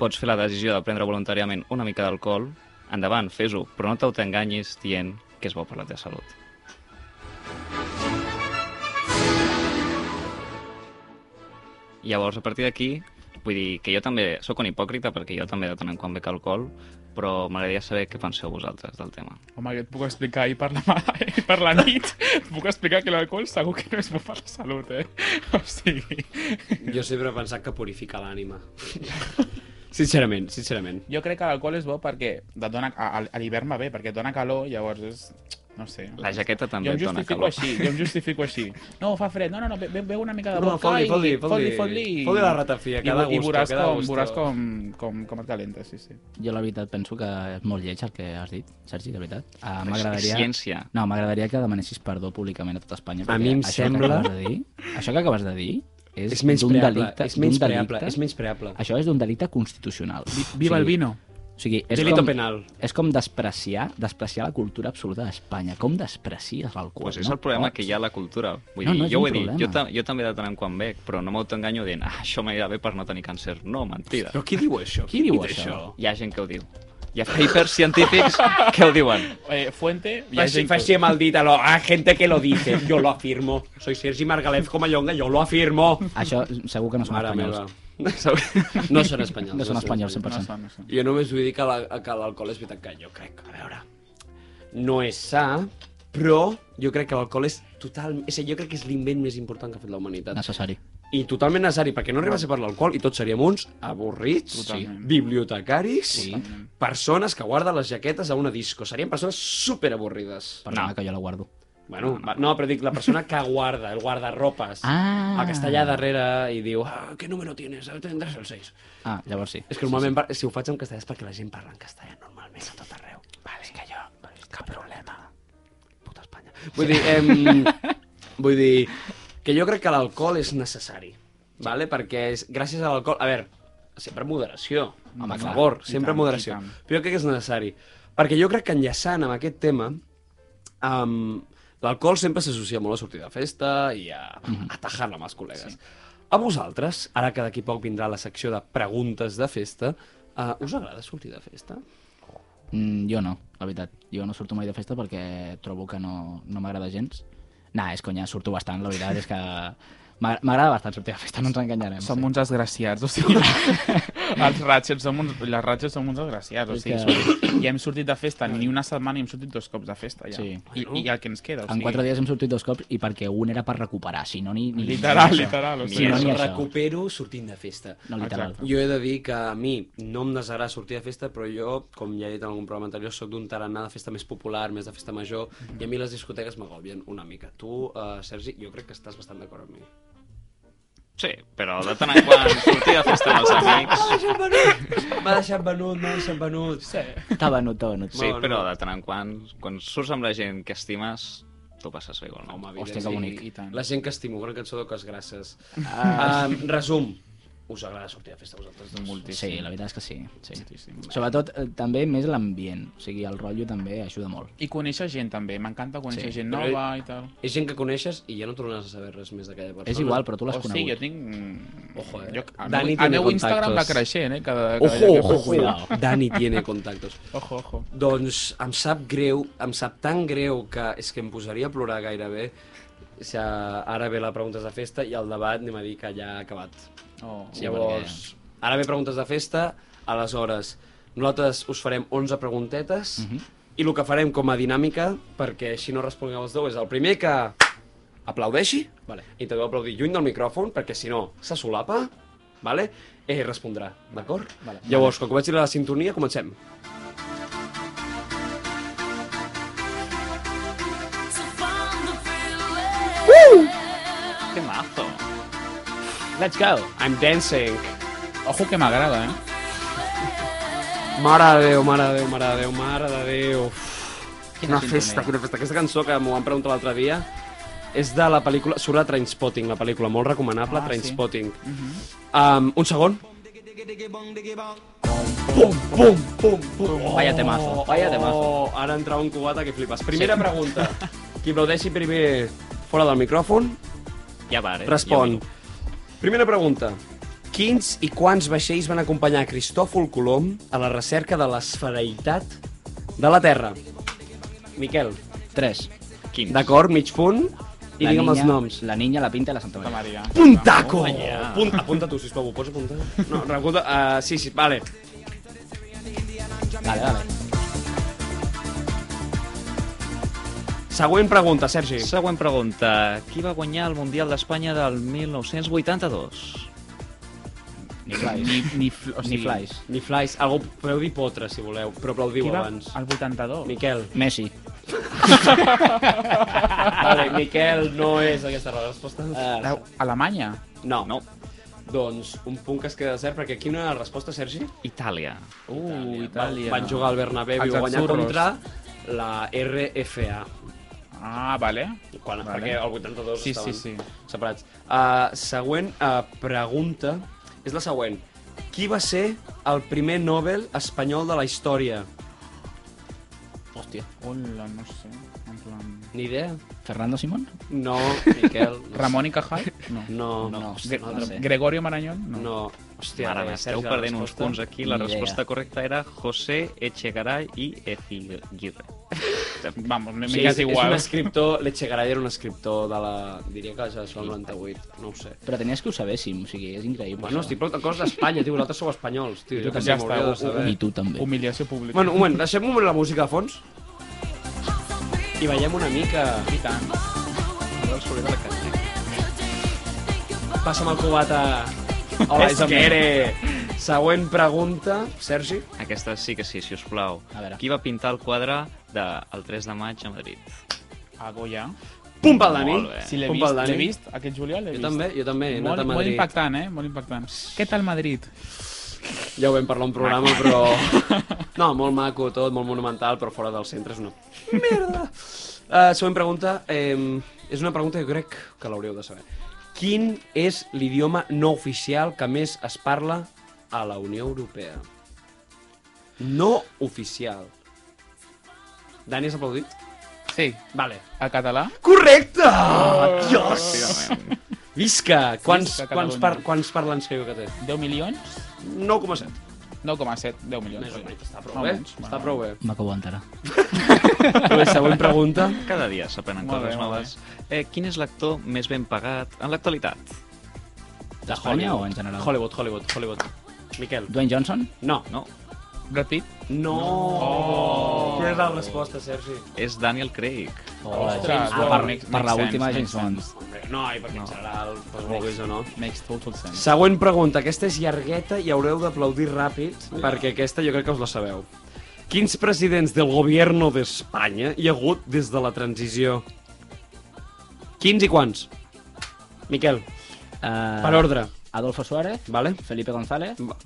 Speaker 4: pots fer la decisió de prendre voluntàriament una mica d'alcohol, endavant, fes-ho, però no t'autoenganyis dient que és bo per la teva salut. Llavors, a partir d'aquí, vull dir que jo també sóc un hipòcrita perquè jo també de tant en quan bec alcohol, però m'agradaria saber què penseu vosaltres del tema.
Speaker 5: Home, jo et puc explicar ahir per la, mà, per la nit, et puc explicar que l'alcohol segur que no és bo per la salut, eh? O sigui...
Speaker 3: Jo sempre he pensat que purifica l'ànima. Sincerament, sincerament.
Speaker 5: Jo crec que l'alcohol és bo perquè et dona, a, a- a l'hivern va bé, perquè et dona calor, llavors és... No sé.
Speaker 4: La jaqueta també
Speaker 5: jo em
Speaker 4: et dona
Speaker 5: justifico
Speaker 4: calor.
Speaker 5: així, jo em justifico així. No, fa fred, no, no, no, be- be- beu una mica de
Speaker 3: No,
Speaker 5: vodka
Speaker 3: fot-li,
Speaker 5: i...
Speaker 3: fot-li, fot-li.
Speaker 5: fot-li, i-
Speaker 3: Fot-li la ratafia,
Speaker 5: i
Speaker 3: que da
Speaker 5: vo-
Speaker 3: gusto,
Speaker 5: I veuràs,
Speaker 3: que da
Speaker 5: com,
Speaker 3: gusto.
Speaker 5: veuràs com, com, com et calenta, sí, sí.
Speaker 6: Jo la veritat penso que és molt lleig el que has dit, Sergi, de veritat. Uh,
Speaker 4: és
Speaker 6: M'agradaria...
Speaker 4: ciència.
Speaker 6: No, m'agradaria que demanessis perdó públicament a tot Espanya.
Speaker 3: A
Speaker 6: perquè
Speaker 3: mi em
Speaker 6: això
Speaker 3: sembla-
Speaker 6: Que acabes de dir, això que acabes de dir és,
Speaker 3: És menys
Speaker 6: d'un
Speaker 3: preable,
Speaker 6: delicte...
Speaker 3: és menys
Speaker 6: d'un
Speaker 3: preable,
Speaker 6: delicte-
Speaker 3: és menys preable.
Speaker 6: Això és d'un delicte constitucional.
Speaker 5: Viva el vino.
Speaker 6: O O sigui, és
Speaker 3: Delito
Speaker 6: com,
Speaker 3: penal.
Speaker 6: és com despreciar, despreciar la cultura absoluta d'Espanya. Com desprecies l'alcohol?
Speaker 4: Pues és el problema que hi ha a la cultura. Vull
Speaker 6: No,
Speaker 4: dir,
Speaker 6: no és
Speaker 4: jo ho
Speaker 6: un
Speaker 4: he dit,
Speaker 6: problema.
Speaker 4: jo, ta jo també de tant en quan bec, però no m'autoenganyo dient ah, això m'anirà bé per no tenir càncer. No, mentida.
Speaker 3: Però qui diu això?
Speaker 6: Qui diu
Speaker 3: ha dit
Speaker 6: això?
Speaker 4: Hi ha gent que ho diu. Hi ha papers científics que ho diuen.
Speaker 5: Eh, fuente, hi ha
Speaker 3: Faci,
Speaker 5: gent...
Speaker 3: faci mal dit a, lo, a gente que lo dice. Yo lo afirmo. Soy Sergi Margalef Comayonga, yo lo afirmo.
Speaker 6: Això segur que no són
Speaker 3: Mare meva.
Speaker 6: espanyols.
Speaker 3: No són espanyols.
Speaker 6: No són espanyols, 100%.
Speaker 5: No, no, no.
Speaker 3: Jo només vull dir que la- que l'alcohol és veritat que jo crec, a veure, no és sa, però jo crec que l'alcohol és total... És a dir, jo crec que és l'invent més important que ha fet la humanitat.
Speaker 6: Necessari.
Speaker 3: I totalment necessari, perquè no arriba a ser per l'alcohol i tots seríem uns avorrits,
Speaker 5: Totalment.
Speaker 3: bibliotecaris,
Speaker 6: Totalment.
Speaker 3: persones que guarden les jaquetes a una disco. Serien persones superavorrides.
Speaker 6: Perdona que jo la guardo.
Speaker 3: Bueno, no, però dic, la persona que guarda, el guardarropes,
Speaker 6: Ah.
Speaker 3: el que està allà darrere i diu, ah, ¿qué número tienes? Ah, Tendrás el 6.
Speaker 6: Ah, llavors sí.
Speaker 3: És que normalment, sí, si ho faig en castellà és perquè la gent parla en castellà normalment a tot arreu. Vale. És que jo, cap problema. Puta Espanya. Vull dir, em, vull dir que jo crec que l'alcohol és necessari, vale? perquè és, gràcies a l'alcohol... A veure, sempre amb moderació,
Speaker 6: Home,
Speaker 3: a
Speaker 6: clar.
Speaker 3: favor,
Speaker 5: Mm, I
Speaker 3: sempre
Speaker 5: tant,
Speaker 3: amb moderació.
Speaker 5: i tant.
Speaker 3: Però jo crec que és necessari. Perquè jo crec que enllaçant amb aquest tema, Um, L'alcohol sempre s'associa molt a sortir de festa i a,
Speaker 5: Mm-hmm.
Speaker 3: a tajar-la amb els col·legues. A vosaltres, ara que d'aquí poc vindrà la secció de preguntes de festa, uh, us agrada sortir de festa?
Speaker 6: Mm, jo no, la veritat. Jo no surto mai de festa perquè trobo que no, no m'agrada gens. Nah, és conya, surto bastant, la veritat és que... m'agra- M'agrada bastant sortir de festa, no ens enganyarem.
Speaker 5: Som uns desgraciats, o sigui, els ratxets som uns, les ratxets som uns desgraciats, o
Speaker 6: És
Speaker 5: sigui,
Speaker 6: que-
Speaker 5: que... ja hem sortit de festa ni una setmana i hem sortit dos cops de festa, ja.
Speaker 6: Sí.
Speaker 5: I, I el que ens queda, o
Speaker 6: En
Speaker 5: sigui...
Speaker 6: quatre dies hem sortit dos cops i perquè un era per recuperar, si no ni... ni
Speaker 5: Literal,
Speaker 6: ni això.
Speaker 5: literal, o
Speaker 6: Ni
Speaker 5: sigui,
Speaker 6: això,
Speaker 5: no
Speaker 6: ni
Speaker 3: Jo
Speaker 6: això.
Speaker 3: recupero sortint de festa.
Speaker 6: No, literal.
Speaker 5: Exacte.
Speaker 3: Jo he de dir que a mi no em desagrada sortir de festa, però jo, com ja he dit en algun programa anterior, sóc d'un tarannà de festa més popular, més de festa major, i a mi les discoteques m'agobien una mica. Tu, uh, Sergi, jo crec que estàs bastant d'acord amb mi.
Speaker 4: Sí, però de tant en quan sortir de festa amb els amics...
Speaker 3: deixat venut! M'ha deixat venut, m'ha deixat venut. Sí.
Speaker 6: T'ha venut, t'ha venut.
Speaker 4: Sí,
Speaker 3: Molt,
Speaker 4: però
Speaker 3: molt.
Speaker 4: de tant en quan, quan surts amb la gent que estimes, t'ho passes bé igualment.
Speaker 3: Home,
Speaker 6: Hòstia, que bonic.
Speaker 5: I tant.
Speaker 3: La gent que estimo, gran cançó d'Oques Grasses. Ah. Um, resum, us agrada sortir de festa a vosaltres dos?
Speaker 6: Sí, la veritat és que sí. sí.
Speaker 5: Moltíssim.
Speaker 6: Sobretot, eh, també, més l'ambient. O sigui, el rotllo també ajuda molt.
Speaker 5: I conèixer gent, també. M'encanta conèixer
Speaker 6: Sí.
Speaker 5: sí. gent
Speaker 3: Però-
Speaker 5: nova i tal.
Speaker 3: És gent que coneixes i ja no tornaràs a saber res més d'aquella persona.
Speaker 6: És igual, però tu l'has
Speaker 5: O sigui, jo
Speaker 6: conegut.
Speaker 5: tinc...
Speaker 3: Ojo, eh?
Speaker 5: Jo, el
Speaker 3: Dani
Speaker 5: meu,
Speaker 3: tiene
Speaker 5: el meu Instagram va
Speaker 3: contactos.
Speaker 5: creixent, eh? Cada, cada
Speaker 3: Ojo,
Speaker 5: dia que
Speaker 3: ojo,
Speaker 5: faig-
Speaker 3: ojo. Dani tiene contactos.
Speaker 5: Ojo, ojo.
Speaker 3: Doncs em sap greu, em sap tan greu que és que em posaria a plorar gairebé. O sigui, ara ve la preguntes de festa i el debat anem a dir que ja ha acabat.
Speaker 5: Oh.
Speaker 3: Sí, Llavors, ara ve preguntes de festa, aleshores, nosaltres us farem 11 preguntetes i el que farem com a dinàmica, perquè així no respongueu els dos, és el primer que aplaudeixi, vale. intenteu aplaudir lluny del micròfon, perquè si no se solapa, vale? eh, respondrà, d'acord? Vale. Llavors, quan comenci la sintonia, comencem.
Speaker 4: Que mazo!
Speaker 6: Let's go!
Speaker 3: I'm dancing.
Speaker 5: Ojo que m'agrada, eh?
Speaker 3: Mare de Déu, mare de Déu, mare de Déu, mare de Déu.
Speaker 5: Quina
Speaker 3: Quina
Speaker 5: sintonia.
Speaker 3: festa, quina festa. Aquesta cançó que m'ho van preguntar l'altre dia és de la pel·lícula... Surt a Trainspotting, la pel·lícula, molt recomanable,
Speaker 5: Ah, sí.
Speaker 3: Trainspotting. um, un segon. Pum, pum, pum, pum. Oh,
Speaker 6: Vaya temazo, vaya temazo.
Speaker 3: Oh, ara entrava un cubata que flipes. Primera sí. pregunta. Qui aplaudeixi primer fora del micròfon,
Speaker 4: Ja va, eh?
Speaker 3: Respon.
Speaker 4: Ja
Speaker 3: Primera pregunta. Quins i quants vaixells van acompanyar Cristòfol Colom a la recerca de l'esfereïtat de la Terra? Miquel,
Speaker 6: 3.
Speaker 4: va. Quins?
Speaker 3: d'acord, mig punt, i digue'm els noms.
Speaker 6: La niña, la pinta i la Santa
Speaker 5: Que
Speaker 6: Maria.
Speaker 5: Maria.
Speaker 3: Puntaco! Punt, Oh, apunta tu, sisplau, ho pots apuntar? No, recuda, uh, sí, sí, vale.
Speaker 6: Vale, vale.
Speaker 3: Següent pregunta, Sergi.
Speaker 4: Següent pregunta. Qui va guanyar el Mundial d'Espanya del 1982?
Speaker 6: Ni flies.
Speaker 5: Ni, ni, fl- o
Speaker 6: Ni
Speaker 5: sigui,
Speaker 6: flies.
Speaker 3: Ni flies, algú, podeu dir potre, si voleu, però aplaudiu
Speaker 5: Qui va?
Speaker 3: abans.
Speaker 5: El 82.
Speaker 3: Miquel.
Speaker 6: Messi.
Speaker 3: Vale, Miquel no és aquesta la resposta.
Speaker 5: Ara, Alemanya.
Speaker 3: No.
Speaker 4: No.
Speaker 3: Doncs un punt que es queda desert, perquè aquí una resposta, Sergi.
Speaker 4: Itàlia.
Speaker 5: Uh, Itàlia.
Speaker 3: Van jugar al Bernabéu i
Speaker 5: Els
Speaker 3: ho guanyar
Speaker 5: azzurros.
Speaker 3: contra la RFA.
Speaker 5: Ah, vale.
Speaker 3: Quan,
Speaker 5: Vale.
Speaker 3: Perquè el 82
Speaker 5: Sí,
Speaker 3: estaven
Speaker 5: sí, sí.
Speaker 3: separats. Uh, següent uh, pregunta és la següent. Qui va ser el primer Nobel espanyol de la història.
Speaker 6: Hòstia.
Speaker 5: Hola, no sé. En plan...
Speaker 3: Ni idea?
Speaker 6: Fernando Simón?
Speaker 3: No, Miquel. No sé.
Speaker 5: Ramon i Cajal? No.
Speaker 3: No,
Speaker 6: No,
Speaker 3: no,
Speaker 6: hòstia,
Speaker 3: no,
Speaker 6: no sé.
Speaker 5: Gregorio Marañón?
Speaker 3: no.
Speaker 5: No.
Speaker 3: no. Hòstia,
Speaker 4: Mare meva,
Speaker 3: eh,
Speaker 4: esteu
Speaker 3: Sergi, la
Speaker 4: perdent uns
Speaker 3: resposta?
Speaker 4: punts aquí. La
Speaker 6: Ni idea.
Speaker 4: resposta correcta era José Echegaray i Eciguirre.
Speaker 5: Vamos, m'he
Speaker 3: Sí, és,
Speaker 5: sí, mirat
Speaker 3: és un
Speaker 5: igual.
Speaker 3: escriptor, l'Echegaray era un escriptor de la... diria que de la generació del 98, no ho sé.
Speaker 6: Però tenies que ho sabéssim, o sigui, és increïble.
Speaker 3: Bueno, estic parlant de coses d'Espanya, tio, vosaltres sou espanyols, tio. Jo
Speaker 5: tu
Speaker 3: que
Speaker 5: també.
Speaker 3: ja m'hauria de
Speaker 5: Ja està,
Speaker 3: saber.
Speaker 6: I tu també.
Speaker 5: Humiliació pública.
Speaker 3: Bueno, un moment, deixem un moment la música de fons i ballem una mica.
Speaker 5: I tant.
Speaker 3: Passa'm el cubat a... Hola,
Speaker 5: És que-
Speaker 3: Isabel. Següent pregunta, Sergi.
Speaker 4: Aquesta sí que sí, si us plau.
Speaker 6: A veure.
Speaker 4: Qui va pintar el quadre del el 3 de maig a Madrid?
Speaker 5: A Goya.
Speaker 3: Pum pel Dani.
Speaker 4: Molt bé.
Speaker 5: Si l'he
Speaker 3: Pum
Speaker 5: vist,
Speaker 3: pel Dani.
Speaker 5: l'he vist, aquest juliol l'he
Speaker 3: Jo
Speaker 5: vist.
Speaker 3: també, jo també, he anat
Speaker 5: Molt,
Speaker 3: a
Speaker 5: molt
Speaker 3: Madrid.
Speaker 5: impactant, eh? Molt impactant. Què tal Madrid?
Speaker 3: Ja ho vam parlar en programa, però... No, molt maco tot, molt monumental, però fora del centre és una... Merda! Uh, següent pregunta. Eh, és una pregunta que crec que l'hauríeu de saber. Quin és l'idioma no oficial que més es parla a la Unió Europea? No oficial. Dani, has aplaudit?
Speaker 5: Sí.
Speaker 3: Vale.
Speaker 5: El català?
Speaker 3: Correcte! Oh. Dios!
Speaker 4: Efectivament.
Speaker 3: Visca! Quants, quants,
Speaker 5: Visca Catalunya.
Speaker 3: par quants parlants creieu que té?
Speaker 5: 10 milions?
Speaker 3: 9,7.
Speaker 5: 9,7, 10 milions.
Speaker 3: Més o menys. Està prou
Speaker 5: Molt
Speaker 3: bé.
Speaker 5: menys,
Speaker 3: Està
Speaker 5: bueno.
Speaker 3: prou bé.
Speaker 6: M'acabo d'entrar.
Speaker 3: Bé, següent pregunta.
Speaker 4: Cada dia s'aprenen
Speaker 5: Molt bé,
Speaker 4: coses
Speaker 5: molt
Speaker 4: noves. Eh, quin és l'actor més ben pagat en l'actualitat?
Speaker 6: De Hollywood o en general?
Speaker 3: Hollywood, Hollywood, Hollywood. Miquel.
Speaker 6: Dwayne Johnson?
Speaker 3: No.
Speaker 4: No,
Speaker 5: Brad Pitt?
Speaker 3: No. Oh. Quina és la resposta, Sergi?
Speaker 4: és Daniel Craig.
Speaker 6: Oh,
Speaker 5: Ostres,
Speaker 6: James
Speaker 5: wow.
Speaker 6: Bond.
Speaker 5: Makes- makes
Speaker 6: per la
Speaker 5: sense,
Speaker 6: última de
Speaker 5: makes
Speaker 6: James Bond.
Speaker 3: Hombre, no, i perquè no. en general, pues, vulguis o no.
Speaker 5: Makes total sense.
Speaker 3: Següent pregunta. Aquesta és llargueta i haureu d'aplaudir ràpid, perquè aquesta jo crec que us la sabeu. Quins presidents del govern d'Espanya hi ha hagut des de la transició? Quins i quants? Miquel,
Speaker 6: Uh,
Speaker 3: per ordre,
Speaker 6: Adolfo Suárez,
Speaker 3: vale?
Speaker 6: Felipe González,
Speaker 3: No.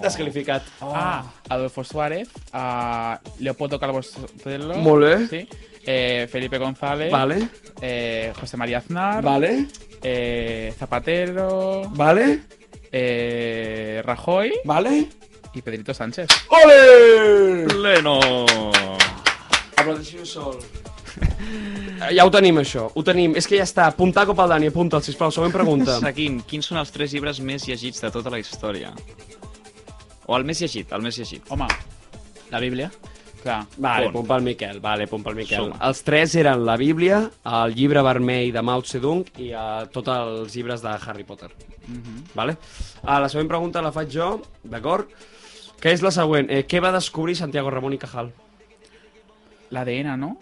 Speaker 3: Descalificat.
Speaker 5: Ah, Adolfo Suárez, a Leopoldo Calvo Sotelo.
Speaker 3: Molt bé.
Speaker 5: Sí. Eh, Felipe González.
Speaker 3: Vale,
Speaker 5: Eh, José María Aznar.
Speaker 3: vale,
Speaker 5: Eh, Zapatero.
Speaker 3: vale,
Speaker 5: Eh, Rajoy.
Speaker 3: vale.
Speaker 5: Y Pedrito Sánchez.
Speaker 3: Ole!
Speaker 4: Leno!
Speaker 3: Aplaudeixo sol. Eh, Ja ho tenim, això. Ho tenim. És que ja està. Apuntar cop al Dani. Apunta'l, sisplau. Següent pregunta.
Speaker 4: Seguim, quins són els tres llibres més llegits de tota la història? O el més llegit, el més llegit.
Speaker 5: Oma,
Speaker 6: la Bíblia.
Speaker 5: claro.
Speaker 3: Vale,
Speaker 4: Punt.
Speaker 3: punt pel Miquel. Vale, punt pel Miquel.
Speaker 4: Suma.
Speaker 3: Els tres eren la Bíblia, el llibre vermell de Mao Zedong i eh, tots els llibres de Harry Potter. Vale? Ah, la següent pregunta la faig jo, d'acord? Que és la següent. Eh, què va descobrir Santiago Ramon i Cajal?
Speaker 5: La de Ena, ¿no?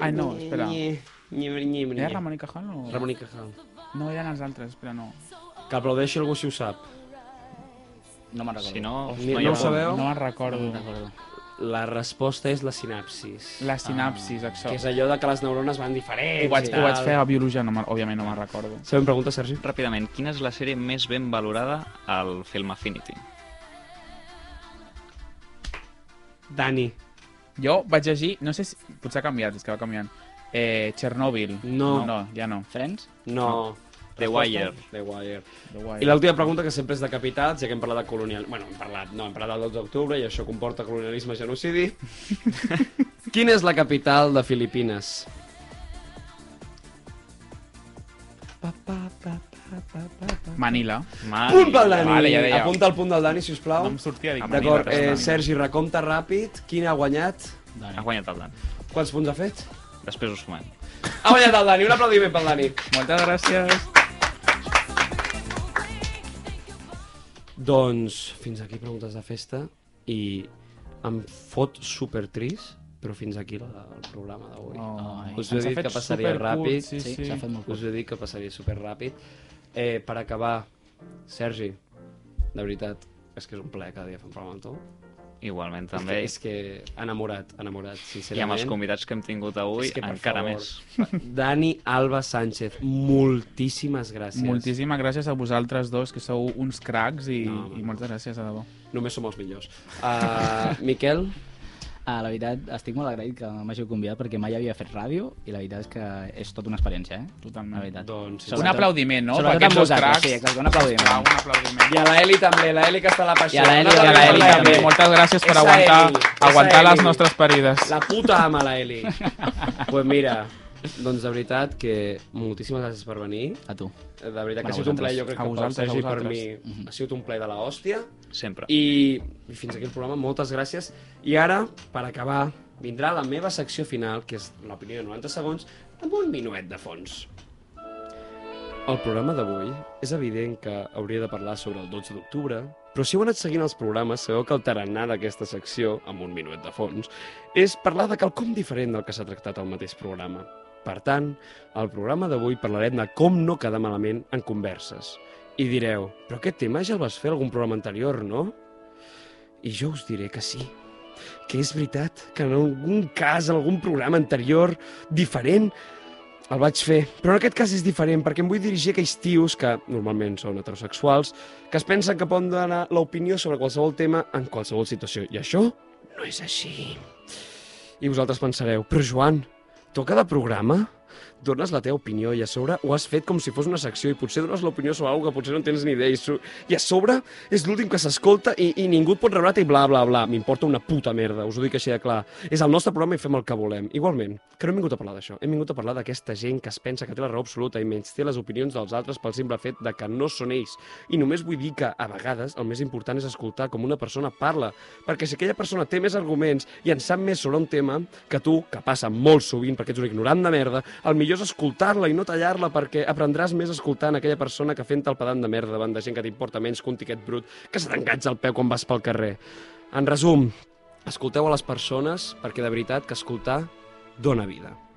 Speaker 5: Ah, no, espera. ¿Era Ramón y Cajal o...?
Speaker 3: Ramon i Cajal.
Speaker 5: No, eran las altres, espera, no.
Speaker 3: Que aplaudeixi algú si ho sap.
Speaker 6: No me'n recordo.
Speaker 4: Si no,
Speaker 3: Ni-
Speaker 4: no hi
Speaker 3: no
Speaker 4: ha
Speaker 3: ho
Speaker 4: punt.
Speaker 3: sabeu?
Speaker 5: No me'n recordo.
Speaker 6: No me'n recordo.
Speaker 3: La resposta és la sinapsis.
Speaker 5: La sinapsis, això.
Speaker 3: Ah, Que és allò de que les neurones van diferents
Speaker 5: Ho vaig,
Speaker 3: i
Speaker 5: ho
Speaker 3: tal.
Speaker 5: vaig fer a biologia, no me'n- òbviament no me'n recordo.
Speaker 3: Sabem pregunta, Sergi?
Speaker 4: Ràpidament, quina és la sèrie més ben valorada al Film Affinity?
Speaker 3: Dani.
Speaker 5: Jo vaig llegir, no sé si... Potser ha canviat, és que va canviant. Eh, Chernobyl.
Speaker 3: No.
Speaker 5: No, ja no.
Speaker 6: Friends?
Speaker 3: No.
Speaker 4: The Wire.
Speaker 3: The Wire. I
Speaker 5: I la...
Speaker 3: l'última pregunta, que sempre és de capitals, ja que hem parlat de colonial... Bueno, hem parlat, no, hem parlat del 12 d'octubre i això comporta colonialisme i genocidi. Quina és la capital de Filipines?
Speaker 5: Manila.
Speaker 4: Mare
Speaker 3: Punt pel
Speaker 4: meva.
Speaker 3: Dani!
Speaker 5: vale, ja deia.
Speaker 3: Apunta el punt del Dani, sisplau.
Speaker 5: No em sortia, dic,
Speaker 3: D'acord,
Speaker 5: Manila,
Speaker 3: eh,
Speaker 5: Manila.
Speaker 3: Sergi, recompte ràpid. Quin ha guanyat?
Speaker 6: Dani.
Speaker 4: Ha guanyat el Dan.
Speaker 3: Quants punts ha fet?
Speaker 4: Després us sumem.
Speaker 3: Ha guanyat el Dani, un aplaudiment pel Dani.
Speaker 5: Moltes gràcies.
Speaker 3: Doncs fins aquí preguntes de festa i em fot super trist, però fins aquí la, el programa d'avui.
Speaker 5: Ai,
Speaker 3: us ho he
Speaker 5: Oh, eh, ens ha
Speaker 3: dit
Speaker 5: fet
Speaker 3: que passaria
Speaker 5: supercurt,
Speaker 3: ràpid.
Speaker 5: Sí,
Speaker 6: Sí,
Speaker 5: sí.
Speaker 6: s'ha fet molt
Speaker 3: Us
Speaker 6: curt.
Speaker 3: he dit que passaria super ràpid. Eh, per acabar, Sergi, de veritat, és que és un plaer cada dia fer un programa amb tu.
Speaker 4: Igualment,
Speaker 3: És
Speaker 4: també.
Speaker 3: que- És que, enamorat, enamorat,
Speaker 4: I amb els
Speaker 3: sincerament.
Speaker 4: convidats que hem tingut avui,
Speaker 3: És que, per
Speaker 4: encara
Speaker 3: favor.
Speaker 4: més.
Speaker 3: Dani Alba Sánchez, moltíssimes gràcies.
Speaker 5: Moltíssimes gràcies a vosaltres dos, que sou uns cracs i,
Speaker 3: No, home,
Speaker 5: i moltes gràcies, de debò.
Speaker 3: Només som els millors. Uh, Miquel,
Speaker 6: Ah, la veritat, estic molt agraït que m'hàgiu convidat perquè mai havia fet ràdio i la veritat és que és tota una experiència, eh?
Speaker 5: Totalment.
Speaker 6: La veritat.
Speaker 3: Doncs,
Speaker 5: Un aplaudiment, no?
Speaker 6: Sobretot
Speaker 5: Per aquests
Speaker 6: amb
Speaker 5: dos
Speaker 6: vosaltres,
Speaker 5: cracs.
Speaker 6: sí, exacte, un
Speaker 5: Va,
Speaker 6: aplaudiment.
Speaker 5: un aplaudiment.
Speaker 3: I a l'Eli també, l'Eli que està a la
Speaker 6: I
Speaker 3: passió.
Speaker 6: a la Eli,
Speaker 3: Una
Speaker 6: i a la
Speaker 3: abraçada
Speaker 5: Eli,
Speaker 6: Eli
Speaker 5: també.
Speaker 6: també.
Speaker 5: Moltes gràcies per
Speaker 3: Esa
Speaker 5: aguantar,
Speaker 3: Eli, esa
Speaker 5: aguantar les
Speaker 3: Eli.
Speaker 5: nostres parides.
Speaker 3: La puta ama, la Eli. pues mira, doncs de veritat que moltíssimes gràcies per venir.
Speaker 6: A tu.
Speaker 3: De veritat que
Speaker 6: Bueno,
Speaker 3: ha sigut un plaer, jo
Speaker 5: a
Speaker 3: crec que pel
Speaker 5: vosaltres, a
Speaker 3: Sergi i per
Speaker 5: vosaltres.
Speaker 3: mi ha sigut un plaer de la hòstia.
Speaker 4: Sempre. I...
Speaker 3: I, I fins aquí el programa, moltes gràcies. I ara, per acabar, vindrà la meva secció final, que és l'opinió de 90 segons, amb un minuet de fons. El programa d'avui és evident que hauria de parlar sobre el 12 d'octubre, però si heu anat seguint els programes sabeu que el tarannà d'aquesta secció, amb un minuet de fons, és parlar de quelcom diferent del que s'ha tractat al mateix programa. Per tant, al programa d'avui parlarem de com no quedar malament en converses. I direu, però aquest tema ja el vas fer a algun programa anterior, no? I jo us diré que sí, que és veritat que en algun cas, en algun programa anterior, diferent, el vaig fer. Però en aquest cas és diferent, perquè em vull dirigir a aquells tios, que normalment són heterosexuals, que es pensen que poden donar l'opinió sobre qualsevol tema en qualsevol situació. I això no és així. I vosaltres pensareu, però Joan, tu a cada programa dones la teva opinió i a sobre ho has fet com si fos una secció i potser dones l'opinió sobre alguna que potser no en tens ni idea i, so- i a sobre és l'últim que s'escolta i, i ningú et pot reblar i bla, bla, bla. M'importa una puta merda, us ho dic així de clar. És el nostre programa i fem el que volem. Igualment, que no hem vingut a parlar d'això. Hem vingut a parlar d'aquesta gent que es pensa que té la raó absoluta i menys té les opinions dels altres pel simple fet de que no són ells. I només vull dir que, a vegades, el més important és escoltar com una persona parla, perquè si aquella persona té més arguments i en sap més sobre un tema que tu, que passa molt sovint perquè ets un ignorant de merda, el millor és escoltar-la i no tallar-la perquè aprendràs més escoltant aquella persona que fent el pedant de merda davant de gent que t'importa menys que un tiquet brut que se t'enganxa al peu quan vas pel carrer. En resum, escolteu a les persones perquè de veritat que escoltar dona vida.